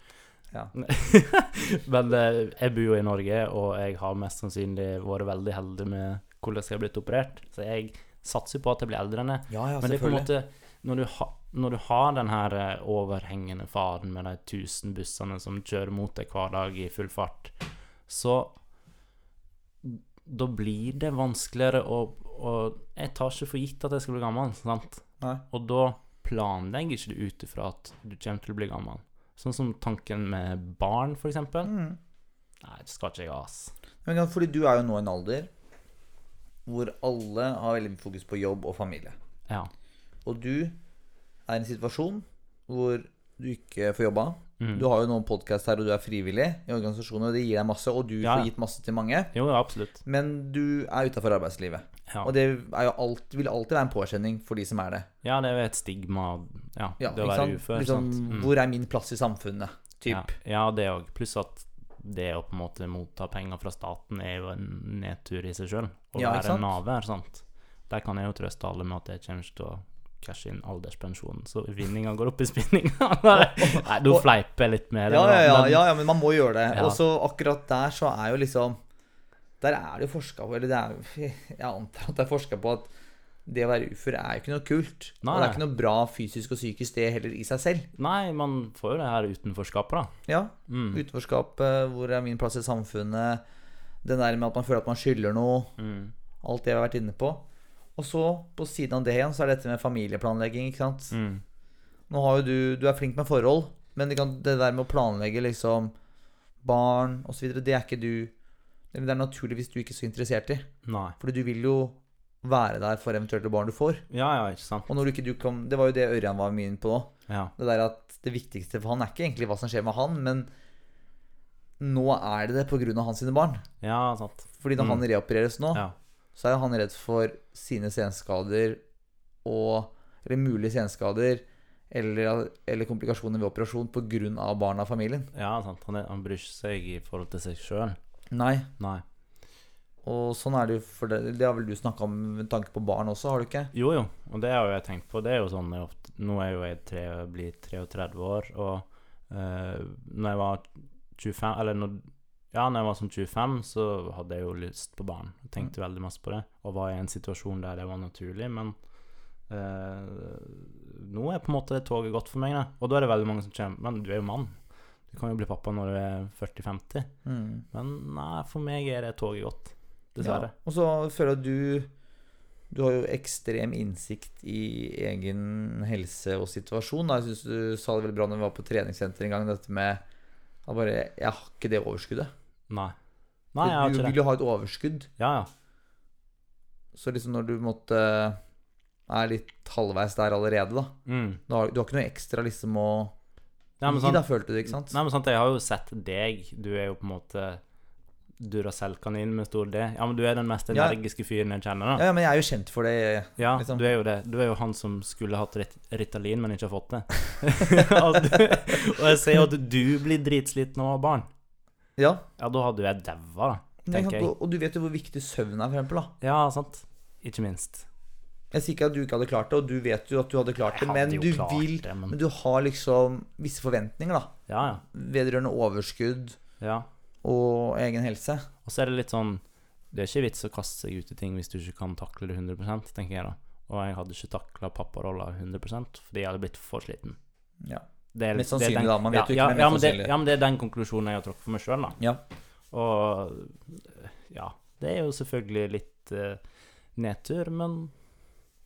A: Ja.
B: Men eh, jeg bor jo i Norge, og jeg har mest sannsynlig vært veldig heldig med hvordan jeg har blitt operert, så jeg satser på at jeg blir eldre enn jeg.
A: Ja, ja,
B: Men det er på en måte Når du, ha, når du har den her eh, overhengende faren med de tusen bussene som kjører mot deg hver dag i full fart, så Da blir det vanskeligere å, å Jeg tar ikke for gitt at jeg skal bli gammel, sant?
A: Nei.
B: Og da planlegger ikke du ut ifra at du kommer til å bli gammel. Sånn som tanken med barn, for eksempel.
A: Mm.
B: Nei, det skal ikke jeg ha, ass.
A: Men ja, fordi du er jo nå i en alder hvor alle har veldig mye fokus på jobb og familie.
B: Ja.
A: Og du er i en situasjon hvor du ikke får jobba.
B: Mm.
A: Du har jo noen podkast her, og du er frivillig i organisasjoner, og det gir deg masse, og du
B: Ja, ja.
A: får gitt masse til mange.
B: Jo, ja, absolutt.
A: Men du er utafor arbeidslivet.
B: Ja.
A: Og det er jo alt, vil alltid være en påkjenning for de som er det.
B: ja, det er jo et stigma ja,
A: Ja,
B: det å
A: ikke
B: være
A: sant?
B: ufør.
A: liksom,
B: sant? Mm.
A: Hvor er min plass i samfunnet? Typ.
B: Ja, ja det òg. Pluss at det å på en måte motta penger fra staten er jo en nedtur i seg sjøl. Å
A: Ja, ikke
B: være
A: sant?
B: naver, sant. Der kan jeg jo trøste alle med at jeg kommer ikke til å cashe inn alderspensjonen, så vinninga går opp i spinninga. Nei, nå
A: og-
B: fleiper jeg litt med det.
A: Ja, ja,
B: da,
A: ja,
B: men-
A: ja, ja, men man må gjøre det.
B: Ja.
A: Og så akkurat der så er jo liksom Der er det jo forska på Eller det er, jo- jeg antar at det er forska på at det å være ufør er jo ikke noe kult. Og det
B: Nei.
A: er ikke noe bra fysisk og psykisk det heller i seg selv.
B: Nei, man får jo det her utenforskapet, da.
A: Ja,
B: Mm.
A: Utenforskapet, hvor er min plass i samfunnet, den der med at man føler at man skylder noe,
B: Mm.
A: alt det jeg har vært inne på. Og så, på siden av det igjen, så er dette med familieplanlegging, ikke sant.
B: Mm.
A: Nå har jo du Du er flink med forhold, men det, kan, det der med å planlegge liksom barn osv., det er ikke du Eller det er naturligvis du ikke så interessert i.
B: Nei.
A: Fordi du vil jo være der for eventuelle barn du får.
B: Ja, ja, ikke sant.
A: Og når du ikke du kan Det var jo det Ørjan var mye inne på nå.
B: Ja.
A: Det der at det viktigste for han er ikke egentlig hva som skjer med han, men nå er det det pga. hans sine barn.
B: ja, sant.
A: Fordi når
B: Mm.
A: han reopereres nå,
B: Ja.
A: så er jo han redd for sine senskader og Eller mulige senskader eller, eller komplikasjoner ved operasjon pga. barna og familien.
B: Ja, sant. Han, er, han bryr seg i forhold til seg sjøl.
A: Nei.
B: Nei.
A: Og sånn er det jo for det, det har vel du snakka om med tanke på barn også, har du ikke?
B: Jo, jo, og det har jo jeg tenkt på. Det er jo sånn jeg ofte, Nå er jo jeg tre, blir 33 år, og eh, når jeg var 25 Eller når, ja, når jeg var sånn 25, så hadde jeg jo lyst på barn. Jeg tenkte veldig masse på det, og var i en situasjon der det var naturlig, men eh, nå er på en måte toget gått for meg, da. Og da er det veldig mange som kommer Men du er jo mann. Du kan jo bli pappa når du er 40-50.
A: Mm.
B: Men nei, for meg er det toget gått. Dessverre.
A: Ja. Og så føler jeg at du Du har jo ekstrem innsikt i egen helse og situasjon. Da. Jeg syns du sa det veldig bra når vi var på treningssenter en gang, dette med at bare Jeg har ikke det overskuddet.
B: Nei. Nei, jeg har
A: du
B: ikke
A: vil
B: det.
A: jo ha et overskudd,
B: Ja, ja.
A: så liksom når du måtte er litt halvveis der allerede, da.
B: Mm.
A: Du har, du har ikke noe ekstra liksom å
B: Nei, men
A: gi,
B: sant,
A: da, følte du, ikke sant?
B: nei, men sant, jeg har jo sett deg. Du er jo på en måte Duracell-kanin med stor D. Ja, men du er den mest
A: Ja.
B: energiske fyren jeg kjenner, da.
A: Ja, ja, men jeg er jo kjent for det.
B: Ja,
A: Liksom.
B: du er jo det. Du er jo han som skulle hatt rit Ritalin, men ikke har fått det. og, du, og jeg ser jo at du blir dritsliten av å ha barn.
A: Ja.
B: Ja, da hadde jo jeg daua,
A: Men
B: da.
A: jeg kan
B: Tenker jeg.
A: gå- Og du vet jo hvor viktig søvn er, for eksempel. Da.
B: Ja, sant. Ikke minst.
A: Jeg sier ikke at du ikke hadde klart det, og du vet jo at du hadde klart det,
B: Jeg hadde
A: men
B: jo
A: du
B: klart
A: vil
B: det, men-
A: Men du har liksom visse forventninger, da.
B: Ja, ja.
A: Vedrørende overskudd
B: ja.
A: og egen helse.
B: Og så er det litt sånn Det er ikke vits å kaste seg ut i ting hvis du ikke kan takle det 100 tenker jeg da. Og jeg hadde ikke takla papparolla 100 fordi jeg hadde blitt for sliten.
A: Ja.
B: Det er,
A: Mest
B: det er
A: sannsynlig,
B: den-
A: da. Man vet jo ikke,
B: ja,
A: men
B: ja,
A: mest
B: men det,
A: sannsynlig.
B: ja, men det er den konklusjonen jeg har trukket for meg sjøl, da.
A: Ja.
B: Og ja, det er jo selvfølgelig litt eh, nedtur, men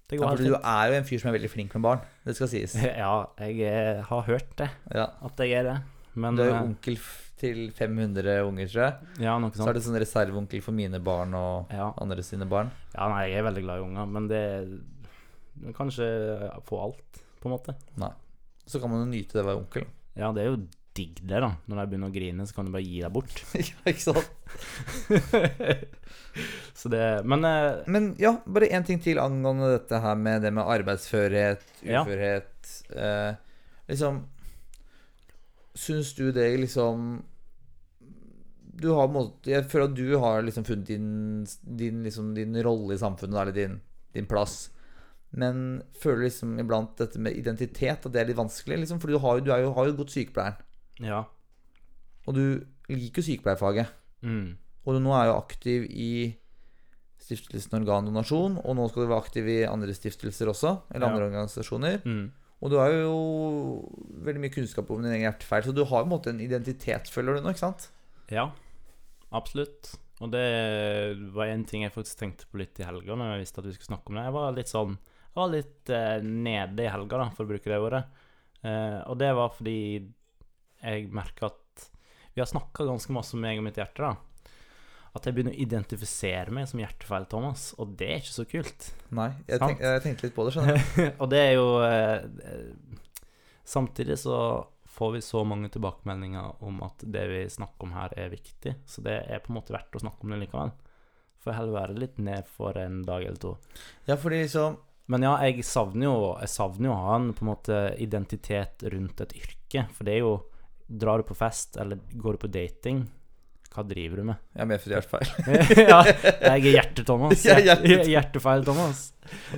B: det
A: Ja,
B: går
A: for du
B: helt fint.
A: er jo en fyr som er veldig flink med barn. Det skal sies.
B: Ja, jeg eh, har hørt det,
A: Ja.
B: at jeg er det. Men
A: Du er jo
B: eh,
A: onkel f- til 500 unger, tror jeg.
B: ja, noe
A: Så er
B: sånt.
A: du sånn reserveonkel for mine barn og
B: Ja.
A: andre sine barn.
B: ja, nei, jeg er veldig glad i unger, men det Du kan ikke få alt, på en måte.
A: Så kan man jo nyte det å være onkel.
B: Ja, det er jo digg det, da. Når de begynner å grine, så kan du bare gi deg bort.
A: ja, ikke sant?
B: så det Men eh,
A: Men ja, bare én ting til angående dette her med det med arbeidsførhet,
B: Ja.
A: uførhet eh, Liksom Syns du det liksom Du har på en måte Jeg føler at du har liksom funnet din, din, liksom, din rolle i samfunnet, da, eller din, din plass. Men føler liksom iblant dette med identitet at det er litt vanskelig? Liksom, for du har jo, du er jo, har jo gått sykepleieren,
B: ja.
A: og du liker jo sykepleierfaget.
B: Mm.
A: Og du nå er jo aktiv i stiftelsen Organdonasjon, og nå skal du være aktiv i andre stiftelser også, eller
B: Ja.
A: andre organisasjoner.
B: Mm.
A: Og du har jo veldig mye kunnskap om din egen hjertefeil, så du har på en måte en identitet, føler du nå, ikke sant?
B: Ja, absolutt. Og det var en ting jeg faktisk tenkte på litt i helga når jeg visste at vi skulle snakke om det. Jeg var litt sånn Jeg var litt eh, nede i helga, da, for å bruke det ordet. Eh, og det var fordi jeg merka at Vi har snakka ganske masse om meg og mitt hjerte, da. At jeg begynner å identifisere meg som hjertefeil Thomas, og det er ikke så kult.
A: Nei, jeg,
B: Sant.
A: tenk, jeg tenkte litt på det, skjønner du.
B: og det er jo eh, eh, Samtidig så får vi så mange tilbakemeldinger om at det vi snakker om her, er viktig, så det er på en måte verdt å snakke om det likevel. Får heller være litt ned for en dag eller to.
A: Ja, fordi liksom
B: Men ja, jeg savner jo, jeg savner jo å ha en på en måte identitet rundt et yrke, for det er jo Drar du på fest, eller går du på dating, hva driver du med?
A: Jeg er medfødt hjertefeil.
B: ja, jeg er Hjerte-Thomas.
A: Jeg er Hjerte-
B: Hjertefeil-Thomas.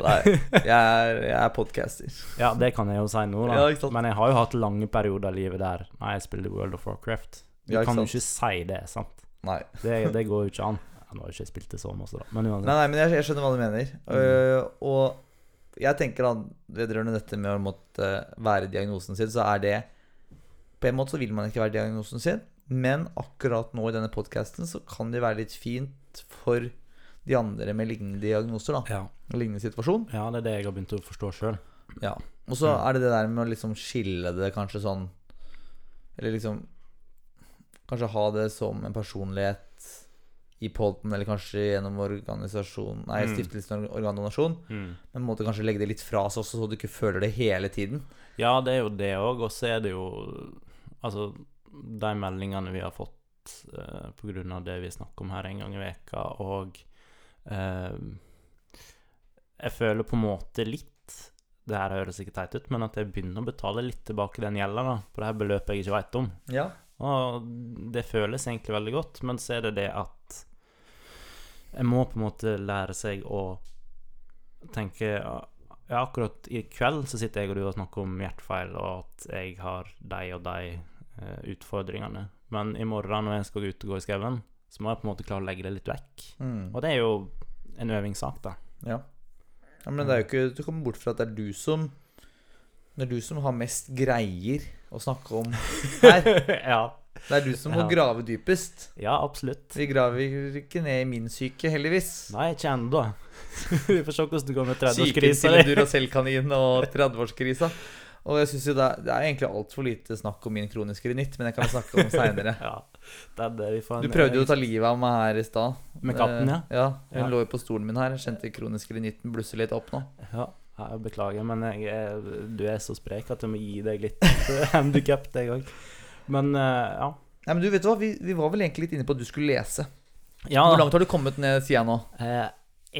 A: Nei, jeg er, jeg er podcaster.
B: Ja, det kan jeg jo si nå, da.
A: Ja, ikke sant.
B: Men jeg har jo hatt lange perioder av livet der Nei, jeg spiller World of Warcraft. Du
A: Ja, ikke
B: kan jo
A: sant.
B: ikke si det, sant?
A: Nei.
B: Det, det går jo ikke an. Ja, nå har jeg ikke spilt det så masse, da. Men
A: Nei,
B: uansett.
A: nei, men jeg, jeg skjønner hva du mener. Øh, og jeg tenker da, vedrørende dette med å måtte være diagnosen sin, så er det På en måte så vil man ikke være diagnosen sin, men akkurat nå i denne podkasten så kan det være litt fint for de andre med lignende diagnoser, da.
B: Ja.
A: og Lignende situasjon.
B: ja, det er det jeg har begynt å forstå sjøl.
A: Ja. Og så er det det der med å liksom skille det kanskje sånn Eller liksom Kanskje ha det som en personlighet i podden, eller kanskje gjennom organisasjon Nei,
B: Mm.
A: stiftelsen Org- Organdonasjon. Men måtte kanskje legge det litt fra seg også, så du ikke føler det hele tiden.
B: Ja, det er jo det òg, og så er det jo Altså, de meldingene vi har fått eh, på grunn av det vi snakker om her en gang i veka, og eh, Jeg føler på en måte litt Det her høres sikkert teit ut, men at jeg begynner å betale litt tilbake den gjelda, da, på det her beløpet jeg ikke veit om.
A: Ja.
B: Og det føles egentlig veldig godt, men så er det det at jeg må på en måte lære seg å tenke Ja, akkurat i kveld så sitter jeg og du og snakker om hjertefeil, og at jeg har de og de eh, utfordringene. Men i morgen når jeg skal ut og gå i skauen, så må jeg på en måte klare å legge det litt vekk.
A: Mm.
B: Og det er jo en øvingssak, da.
A: ja. ja men det er jo ikke Du kommer bort fra at det er du som Det er du som har mest greier å snakke om her.
B: ja.
A: Det er du som må
B: Ja.
A: grave dypest.
B: Ja, absolutt.
A: Vi graver ikke ned i min syke, heldigvis.
B: Nei, ikke ennå. Vi får se hvordan det går med
A: Psyken
B: 30-årskrisa.
A: til Duracell-kaninen og 30-årskrise. Og jeg synes jo det, er, det er egentlig altfor lite snakk om min kroniske renitt, men jeg kan snakke om seinere.
B: Ja, det er det vi får en-
A: Du prøvde jo å ta livet av meg her i stad.
B: Med katten, ja.
A: Eh, Ja, Hun
B: Ja.
A: lå jo på stolen min her. Jeg Kjente kronisk renitten blusse litt opp nå.
B: eh, ja. ja, jeg beklager, men jeg er, du er så sprek at jeg må gi deg litt eh, handikap, jeg òg. Men eh, ja.
A: Nei, men du vet du hva, vi, vi var vel egentlig litt inne på at du skulle lese.
B: ja
A: Hvor
B: da.
A: langt har du kommet ned, sier jeg nå?
B: Eh,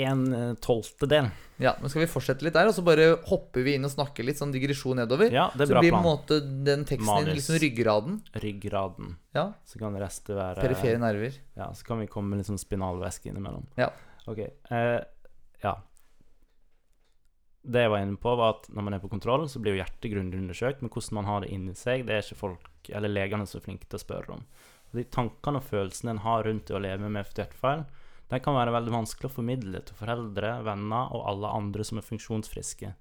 B: en eh, tolvtedel.
A: Ja, men Skal vi fortsette litt der, og så bare hopper vi inn og snakker litt sånn digresjon nedover?
B: Ja, det er
A: så
B: bra
A: blir på en
B: plan.
A: måte den teksten din
B: Manus.
A: liksom ryggraden.
B: Ryggraden.
A: Ja.
B: Så kan det resten være
A: Perifere nerver.
B: Ja, så kan vi komme med litt sånn spinalvæske innimellom.
A: Ja.
B: Ok. Eh, ja. Det jeg var inne på, var at når man er på kontroll, så blir jo hjertet grundig undersøkt, men hvordan man har det inni seg, det er ikke folk eller legene så flinke til å spørre om. Og De tankene og følelsene en har rundt det å leve med efter hjertefeil, de kan være veldig vanskelig å formidle til foreldre, venner og alle andre som er funksjonsfriske.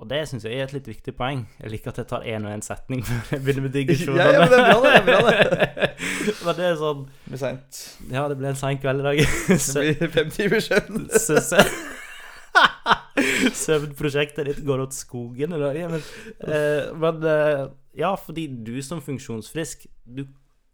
B: Og det syns jeg er et litt viktig poeng. Jeg liker at jeg tar én og én setning før jeg begynner med digresjonene.
A: Ja, ja, men det er bra det, det
B: men det er sånn
A: Det blir seint.
B: ja, det ble en sein kveld i dag. Sø-
A: Det blir fem timer søvn.
B: sø- sø- Søvnprosjektet ditt går åt skogen i dag. Ja, men eh, men eh, ja, fordi du som funksjonsfrisk, du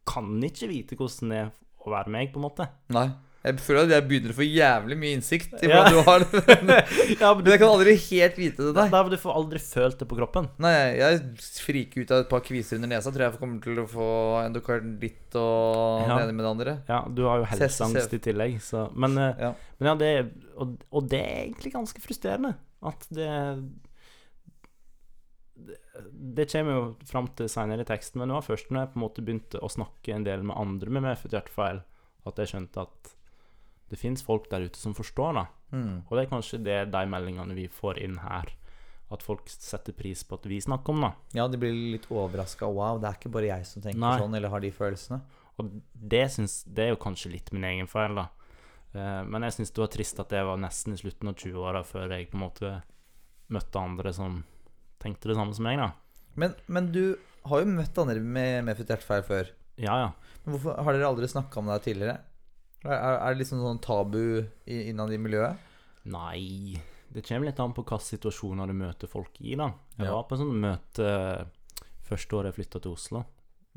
B: kan ikke vite hvordan det er å være meg, på en måte.
A: Nei. Jeg føler at jeg begynner å få jævlig mye innsikt i
B: Ja.
A: hvordan du har det. Men
B: Ja, men du,
A: jeg kan aldri helt vite det der.
B: Nei, men du får aldri følt det på kroppen.
A: Nei, jeg friker ut av et par kviser under nesa. Tror jeg kommer til å få endokarditt og
B: Ja.
A: det ene med det andre.
B: Ja, du har jo helseangst i tillegg, så Men, eh,
A: Ja.
B: men ja, det er- og, og det er egentlig ganske frustrerende at det det- det kommer jo fram til seinere i teksten, men det var først når jeg på en måte begynte å snakke en del med andre med medfødt hjertefeil, at jeg skjønte at det fins folk der ute som forstår, da.
A: Mm.
B: Og det er kanskje det de meldingene vi får inn her, at folk setter pris på at vi snakker om, da.
A: Ja, de blir litt overraska. Wow, det er ikke bare jeg som tenker
B: Nei.
A: sånn eller har de følelsene.
B: Og det, syns, det er jo kanskje litt min egen feil, da. Eh, Men jeg syns det var trist at jeg var nesten i slutten av 20-åra før jeg på en måte møtte andre som tenkte det samme som meg, da.
A: Men, men du har jo møtt andre med medfødt hjertefeil før.
B: Ja, ja.
A: Men hvorfor har dere aldri snakka om det her tidligere? Er, er er det liksom sånn tabu i- innad i miljøet?
B: Nei Det kommer litt an på hvilke situasjoner du møter folk i, da. Jeg
A: Ja.
B: var på sånn møte første året jeg flytta til Oslo.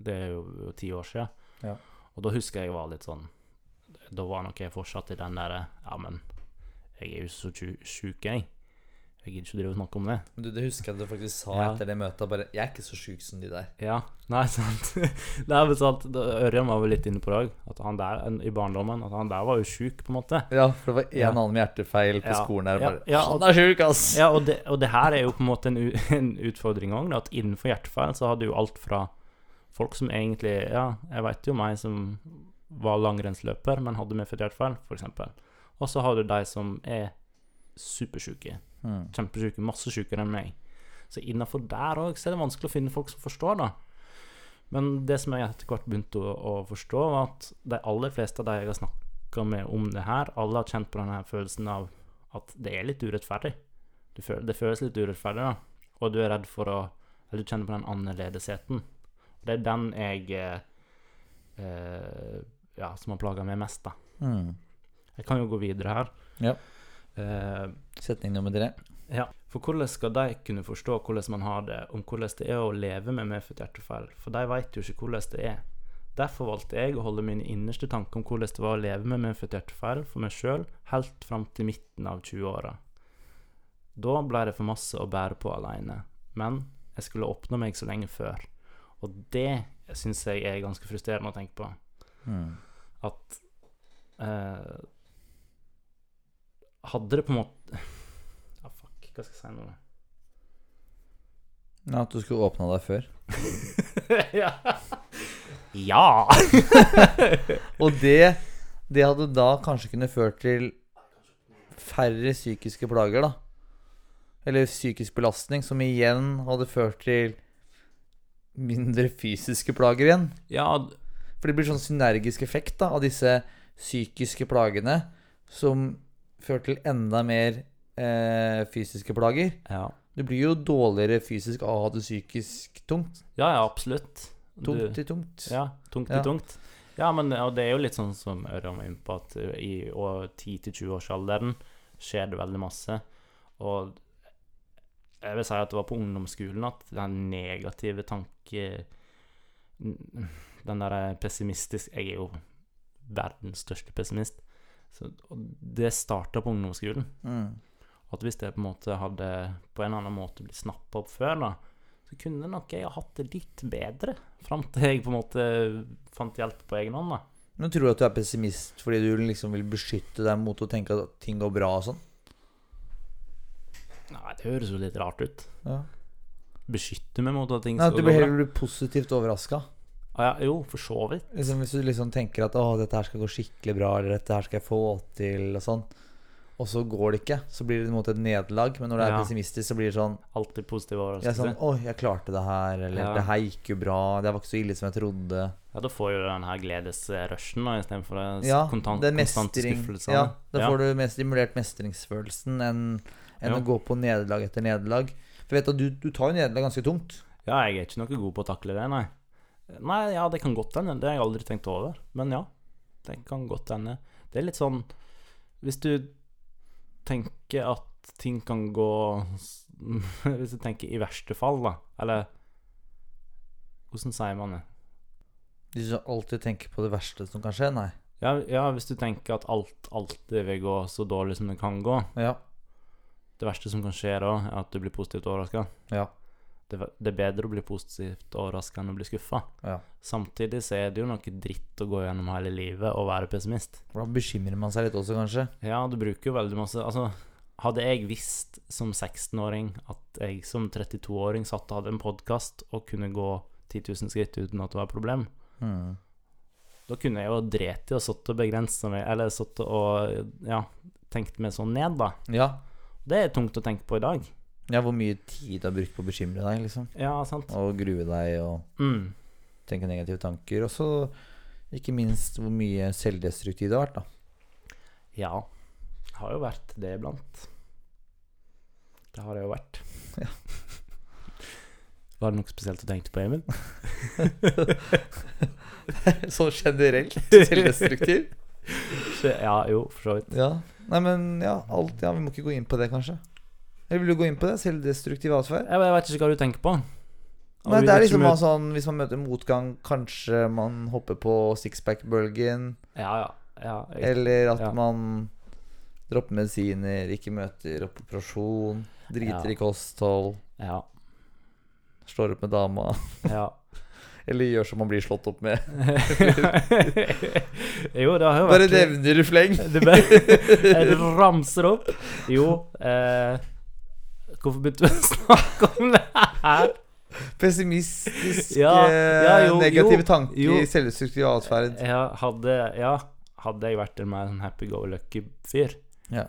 B: Det er jo ti år siden.
A: Ja.
B: Og da husker jeg jeg var litt sånn Da var nok jeg fortsatt i den derre Ja, men jeg er jo så tju- sjuk, jeg. Jeg gidder ikke å drive og snakke om det.
A: Du, det husker jeg at du faktisk sa
B: Ja.
A: etter det møtet. Bare, jeg er ikke så sjuk som de der.
B: Ja, nei, sant. Nei, men sant. da- Ørjan var vel litt inne på det òg, at han der en- i barndommen At han der var jo sjuk, på en måte.
A: Ja, for det var en
B: Ja.
A: annen med hjertefeil på
B: Ja,
A: skolen her.
B: ja,
A: Bare,
B: ja, og-
A: Han er sjuk, ass!
B: Ja, og det, og det her er jo på en måte en, u- en utfordring òg, at innenfor hjertefeil så hadde jo alt fra folk som egentlig Ja, jeg veit jo meg som var langrennsløper, men hadde medfødt hjertefeil, f.eks. Og så har du de som er supersjuke.
A: Mm.
B: kjempesjuke, masse sjukere enn meg. Så innafor der òg er det vanskelig å finne folk som forstår, da. Men det som jeg etter hvert begynte å, å forstå, var at de aller fleste av de jeg har snakka med om det her, alle har kjent på denne her følelsen av at det er litt urettferdig. Du føler, det føles litt urettferdig, da. Og du er redd for å Eller du kjenner på den annerledesheten. Og det er den jeg eh, eh, Ja, som har plaga meg mest, da.
A: Mm.
B: Jeg kan jo gå videre her.
A: Ja.
B: Eh,
A: Setning nummer tre.
B: ja, for hvordan skal de kunne forstå hvordan man har det, om hvordan det er å leve med medfødt hjertefeil, for de vet jo ikke hvordan det er. Derfor valgte jeg å holde mine innerste tanker om hvordan det var å leve med medfødt hjertefeil for meg sjøl helt fram til midten av 20-åra. Da ble det for masse å bære på aleine, men jeg skulle oppnå meg så lenge før. Og det syns jeg er ganske frustrerende å tenke på
A: Mm.
B: at eh, Hadde det på en måte Ja, fuck, hva skal jeg si nå?
A: Ja, at du skulle åpna deg før.
B: ja! ja!
A: Og det, det hadde da kanskje kunne ført til færre psykiske plager, da. Eller psykisk belastning, som igjen hadde ført til mindre fysiske plager igjen.
B: Ja,
A: For det blir sånn synergisk effekt da, av disse psykiske plagene, som fører til enda mer eh, fysiske plager.
B: ja.
A: Du blir jo dårligere fysisk av å ha det psykisk tungt.
B: Ja, ja, absolutt.
A: Tungt
B: Du-
A: i tungt.
B: Ja, tungt i
A: Ja.
B: tungt. Ja, men ja, det er jo litt sånn som Ørjan var inne på, at eh, i å- 10-20-årsalderen skjer det veldig masse. Og jeg vil si at det var på ungdomsskolen at den negative tanke Den derre pessimistisk Jeg er jo verdens største pessimist. Så, og det starta på ungdomsskolen.
A: Mm.
B: At hvis jeg på en måte hadde på en eller annen måte blitt snappa opp før, da, så kunne nok jeg ha hatt det litt bedre fram til jeg på en måte fant hjelp på egen hånd. da.
A: Men tror du at du er pessimist fordi du liksom vil beskytte deg mot å tenke at ting går bra og sånn?
B: Nei, det høres jo litt rart ut.
A: Ja.
B: Beskytte meg mot at ting
A: Nei, at du
B: skal gå
A: blir
B: bra.
A: heller blir positivt overraska.
B: Ah, ja, jo, for så vidt.
A: Liksom, hvis du liksom tenker at 'Å, dette her skal gå skikkelig bra', eller 'dette her skal jeg få til', og sånn, og så går det ikke, så blir det på en måte et nederlag. Men når det er
B: Ja.
A: pessimistisk, så blir det sånn
B: Alltid positiv
A: jeg er sånn
B: overraskelse.
A: 'Å, jeg klarte det her', eller
B: Ja.
A: 'Det her gikk jo bra', 'Det var ikke så ille som jeg trodde'.
B: Ja, Da får jo den her gledesrushen da, istedenfor den
A: Ja,
B: kontant,
A: det er
B: konstante
A: mestring.
B: skuffelsen.
A: Ja, da
B: Ja.
A: får du mer stimulert mestringsfølelsen enn, enn
B: Ja.
A: å gå på nederlag etter nederlag. For jeg vet at du, du tar jo nederlag ganske tungt.
B: ja, jeg er ikke noe god på å takle det, nei. Nei, ja, det kan godt hende. Det har jeg aldri tenkt over. Men ja, det kan godt hende. Det er litt sånn Hvis du tenker at ting kan gå s- Hvis du tenker i verste fall, da, eller Hvordan sier man det?
A: Du skal alltid tenke på det verste som kan skje? Nei.
B: Ja, ja, hvis du tenker at alt alltid vil gå så dårlig som det kan gå
A: Ja.
B: Det verste som kan skje da, er at du blir positivt overraska.
A: Ja.
B: Det, ver- det er bedre å bli positivt overraska enn å bli skuffa.
A: ja.
B: Samtidig så er det jo noe dritt å gå gjennom hele livet og være pessimist.
A: Da bekymrer man seg litt også, kanskje.
B: Ja, du bruker jo veldig masse Altså, hadde jeg visst som 16-åring at jeg som 32-åring satt og hadde en podkast og kunne gå 10 000 skritt uten at det var et problem,
A: Mm.
B: da kunne jeg jo dreti og sittet og begrensa meg, eller sittet og ja, tenkt meg sånn ned, da.
A: Ja.
B: Det er tungt å tenke på i dag.
A: ja, hvor mye tid du har brukt på å bekymre deg, liksom.
B: Ja, sant.
A: Og grue deg og
B: Mm.
A: tenke negative tanker. Og så ikke minst hvor mye selvdestruktiv det har vært, da.
B: Ja. Det har jo vært det iblant. Det har det jo vært.
A: Ja.
B: Var det noe spesielt du tenkte på, Emil?
A: Sånn generelt. Selvdestruktiv.
B: Ja, jo, for så vidt.
A: Ja. Nei, men ja, alt, ja, vi må ikke gå inn på det, kanskje. Eller vil du gå inn på det? Selvdestruktiv atferd?
B: Jeg, jeg vet ikke hva du tenker på.
A: Nei, det er liksom
B: mye-
A: bare sånn Hvis man møter motgang, kanskje man hopper på sixpack-bølgen.
B: Ja, ja. ja jeg,
A: Eller at
B: Ja.
A: man dropper medisiner, ikke møter opp operasjon, driter
B: Ja.
A: i kosthold,
B: ja,
A: slår opp med dama,
B: ja.
A: eller gjør som man blir slått opp med.
B: jo, det har jo
A: Bare
B: vært
A: nevner i fleng.
B: Det bare ramser opp. Jo eh, Hvorfor begynte vi å snakke om det her?
A: Pessimistiske,
B: Ja, ja, jo,
A: negative
B: jo, jo.
A: tanker, selvdestruktiv atferd.
B: Ja, hadde, ja, hadde jeg vært en mer sånn happy-go-lucky-fyr,
A: Ja.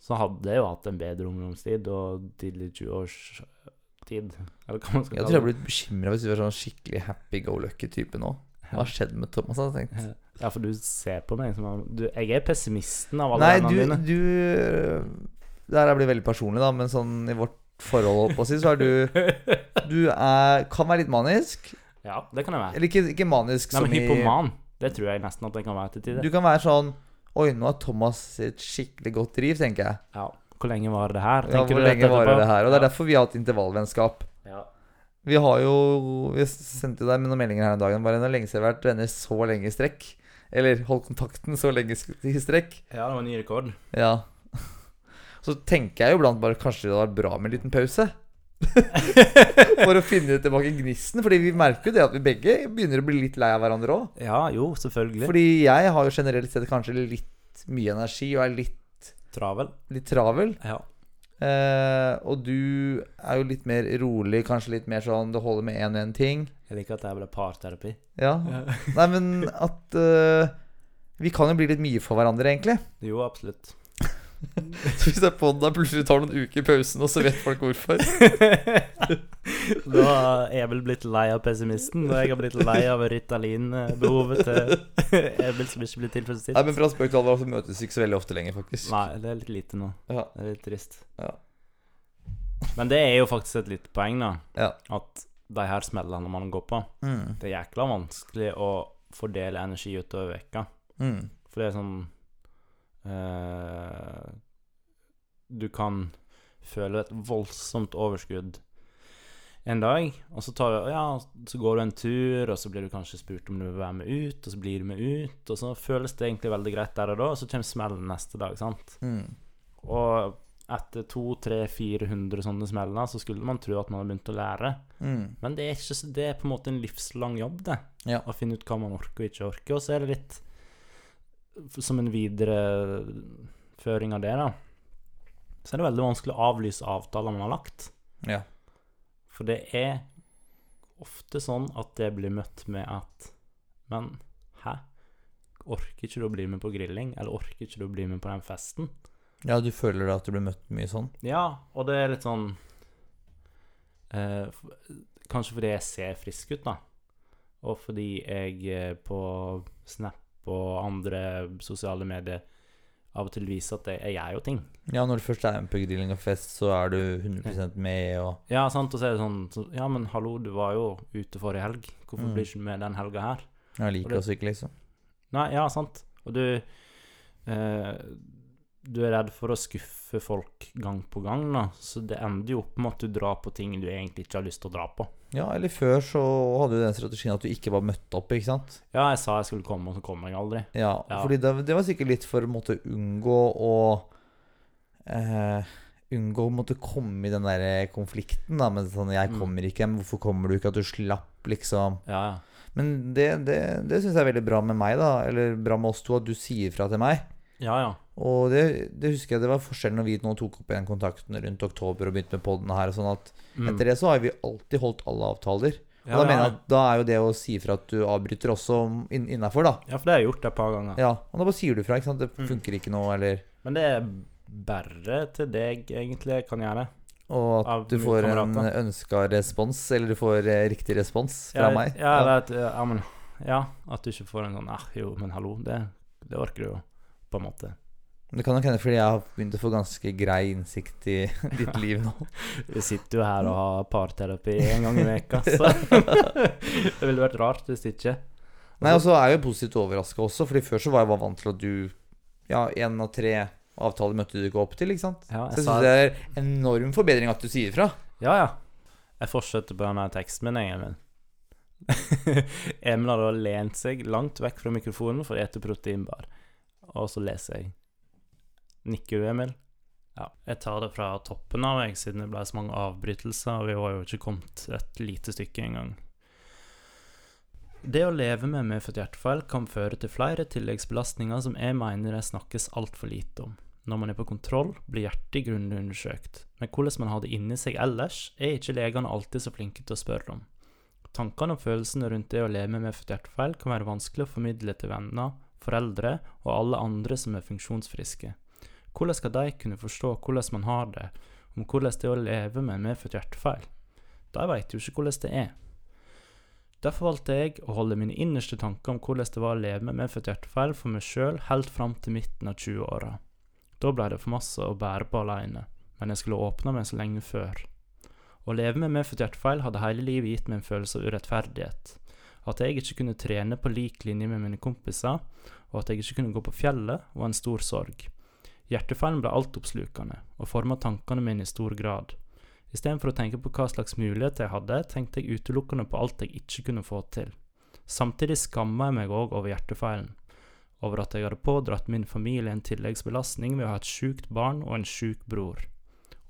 B: så hadde jeg jo hatt en bedre ungdomstid og tidlig 20-årstid. Eller hva man skal
A: Jeg tror jeg hadde blitt bekymra hvis du var sånn skikkelig happy-go-lucky-type nå. Hva har skjedd med Thomas? hadde jeg tenkt.
B: Ja, for du ser på meg som om- du, Jeg er pessimisten av alle
A: Nei,
B: vennene
A: du,
B: dine.
A: du Det her blir veldig personlig, da, men sånn i vårt forhold, holdt på å si, så er du Du er, kan være litt manisk.
B: Ja, det kan jeg være.
A: Eller ikke, ikke manisk
B: Nei, men
A: som
B: hypoman. Det tror jeg nesten at jeg kan være til
A: i
B: tider.
A: Du kan være sånn Oi, nå har Thomas et skikkelig godt driv, tenker jeg.
B: Ja. Hvor lenge var det her?
A: Ja,
B: Tenker
A: hvor
B: du rett
A: lenge varer
B: etterpå?
A: det her? Og det er derfor vi har hatt intervallvennskap.
B: ja.
A: Vi har jo Vi sendte deg med noen meldinger her en dag. Bare det er lenge siden vi har vært venner så lenge i strekk. Eller holdt kontakten så lenge i strekk.
B: ja, det var ny rekord.
A: Ja. Så tenker jeg jo iblant bare kanskje det hadde vært bra med en liten pause. For å finne tilbake gnisten. Fordi vi merker jo det at vi begge begynner å bli litt lei av hverandre òg.
B: Ja, jo, selvfølgelig.
A: Fordi jeg har jo generelt sett kanskje litt mye energi og er litt,
B: Travel.
A: litt travel.
B: Ja.
A: Eh, og du er jo litt mer rolig, kanskje litt mer sånn det holder med én og én ting.
B: Jeg liker at det ble parterapi.
A: Ja. Nei, men at eh, Vi kan jo bli litt mye for hverandre, egentlig.
B: Jo, absolutt.
A: Så hvis det er poden der plutselig tar noen uker i pausen, og så vet folk hvorfor.
B: Da har Emil blitt lei av pessimisten, og jeg har blitt lei av Ritalin-behovet til Emil som ikke blir
A: Nei,
B: tilfredsstilt.
A: men fra spøk til alvor så møtes vi ikke så veldig ofte lenger, faktisk.
B: Nei, det er litt lite nå.
A: Ja.
B: Det er litt trist.
A: Ja.
B: Men det er jo faktisk et lite poeng, da.
A: Ja.
B: At de her smellene man går på.
A: Mm.
B: Det er jækla vanskelig å fordele energi utover veka.
A: Mm.
B: For det er sånn eh, Du kan føle et voldsomt overskudd en dag, og så, tar, du- ja, så går du en tur, og så blir du kanskje spurt om du vil være med ut, og så blir du med ut, og så føles det egentlig veldig greit der og da, og så kommer smellen neste dag, sant?
A: Mm.
B: Og etter 200-400 sånne smeller, så skulle man tro at man har begynt å lære.
A: Mm.
B: Men det er, ikke, så- det er på en måte en livslang jobb, det.
A: Ja.
B: Å finne ut hva man orker og ikke orker. Og så er det litt f- som en videreføring av det, da. Så er det veldig vanskelig å avlyse avtaler man har lagt.
A: Ja.
B: For det er ofte sånn at det blir møtt med at Men hæ? Orker ikke du å bli med på grilling? Eller orker ikke du å bli med på den festen?
A: ja, du føler at du blir møtt mye sånn?
B: Ja, og det er litt sånn eh, f- Kanskje fordi jeg ser frisk ut, da. Og fordi jeg eh, på Snap og andre sosiale medier av og til viser at jeg, jeg gjør jo ting.
A: Ja, når du først er med på grilling og fest, så er du 100 med og
B: Ja, sant, og så er det sånn så, Ja, men hallo, du var jo ute forrige helg. Hvorfor
A: Mm.
B: blir ikke du med den helga her?
A: Jeg
B: Og
A: liker
B: det-
A: oss ikke, liksom.
B: Nei, ja, sant. Og du eh, Du er redd for å skuffe folk gang på gang, da. Så det ender jo opp med at du drar på ting du egentlig ikke har lyst til å dra på.
A: Ja, eller før så hadde du den strategien at du ikke var møtt opp, ikke sant?
B: Ja, jeg sa jeg skulle komme, og så kom jeg aldri.
A: Ja,
B: Ja.
A: fordi det, det var sikkert litt for å måtte unngå å eh, Unngå å måtte komme i den der eh, konflikten, da, med sånn 'Jeg
B: Mm.
A: kommer ikke, men hvorfor kommer du ikke?' At du slapp, liksom.
B: Ja, ja.
A: Men det, det, det syns jeg er veldig bra med meg, da. Eller bra med oss to, at du sier fra til meg.
B: Ja, ja.
A: Og det, det husker jeg det var forskjellen når vi nå tok opp igjen kontakten rundt oktober og begynte med podden her og sånn at
B: Mm.
A: etter det så har vi alltid holdt alle avtaler. Og
B: ja,
A: da
B: ja,
A: mener jeg
B: ja.
A: at da er jo det å si fra at du avbryter også inn, innafor, da.
B: ja, for det har jeg gjort et par ganger.
A: Ja, og da bare sier du fra, ikke sant. Det
B: Mm.
A: funker ikke nå, eller
B: Men det er bare til deg, egentlig, jeg kan gjøre.
A: Og at
B: Av
A: du får en
B: kamerater.
A: ønska respons, eller du får eh, riktig respons fra
B: Ja,
A: meg.
B: Ja, eller at, ja, men, ja, at du ikke får en sånn ah, Jo, men hallo, det, det orker du jo, på en måte.
A: Det kan nok hende fordi jeg har begynt å få ganske grei innsikt i ditt liv nå.
B: Vi sitter jo her og har parterapi en gang i veka, så Det ville vært rart hvis ikke.
A: Nei, og så er jeg jo positivt overraska også, Fordi før så var jeg bare vant til at du Ja, én av tre avtaler møtte du ikke opp til, ikke sant?
B: Ja,
A: Så
B: jeg
A: jeg
B: sa
A: syns det er enorm forbedring at du sier fra.
B: Ja, ja. Jeg fortsetter på denne teksten min, jeg, Emil. Emil har da lent seg langt vekk fra mikrofonen for å ete proteinbar. Og så leser jeg. Nikker du, Emil? Ja. Jeg tar det fra toppen av, jeg, siden det ble så mange avbrytelser, og vi var jo ikke kommet et lite stykke engang. Det å leve med medfødt hjertefeil kan føre til flere tilleggsbelastninger som jeg mener det snakkes altfor lite om. Når man er på kontroll, blir hjertet grundig undersøkt, men hvordan man har det inni seg ellers, er ikke legene alltid så flinke til å spørre om. Tankene og følelsene rundt det å leve med medfødt hjertefeil kan være vanskelig å formidle til venner, foreldre og alle andre som er funksjonsfriske. Hvordan skal de kunne forstå hvordan man har det, om hvordan det er å leve med medfødt hjertefeil? De vet jo ikke hvordan det er. Derfor valgte jeg å holde mine innerste tanker om hvordan det var å leve med medfødt hjertefeil for meg sjøl helt fram til midten av 20-åra. Da ble det for masse å bære på alene, men jeg skulle åpna meg så lenge før. Å leve med medfødt hjertefeil hadde hele livet gitt meg en følelse av urettferdighet. At jeg ikke kunne trene på lik linje med mine kompiser, og at jeg ikke kunne gå på fjellet, var en stor sorg. Hjertefeilen ble altoppslukende, og forma tankene mine i stor grad. Istedenfor å tenke på hva slags muligheter jeg hadde, tenkte jeg utelukkende på alt jeg ikke kunne få til. Samtidig skamma jeg meg òg over hjertefeilen over at jeg hadde pådratt min familie en tilleggsbelastning ved å ha et sjukt barn og en sjuk bror,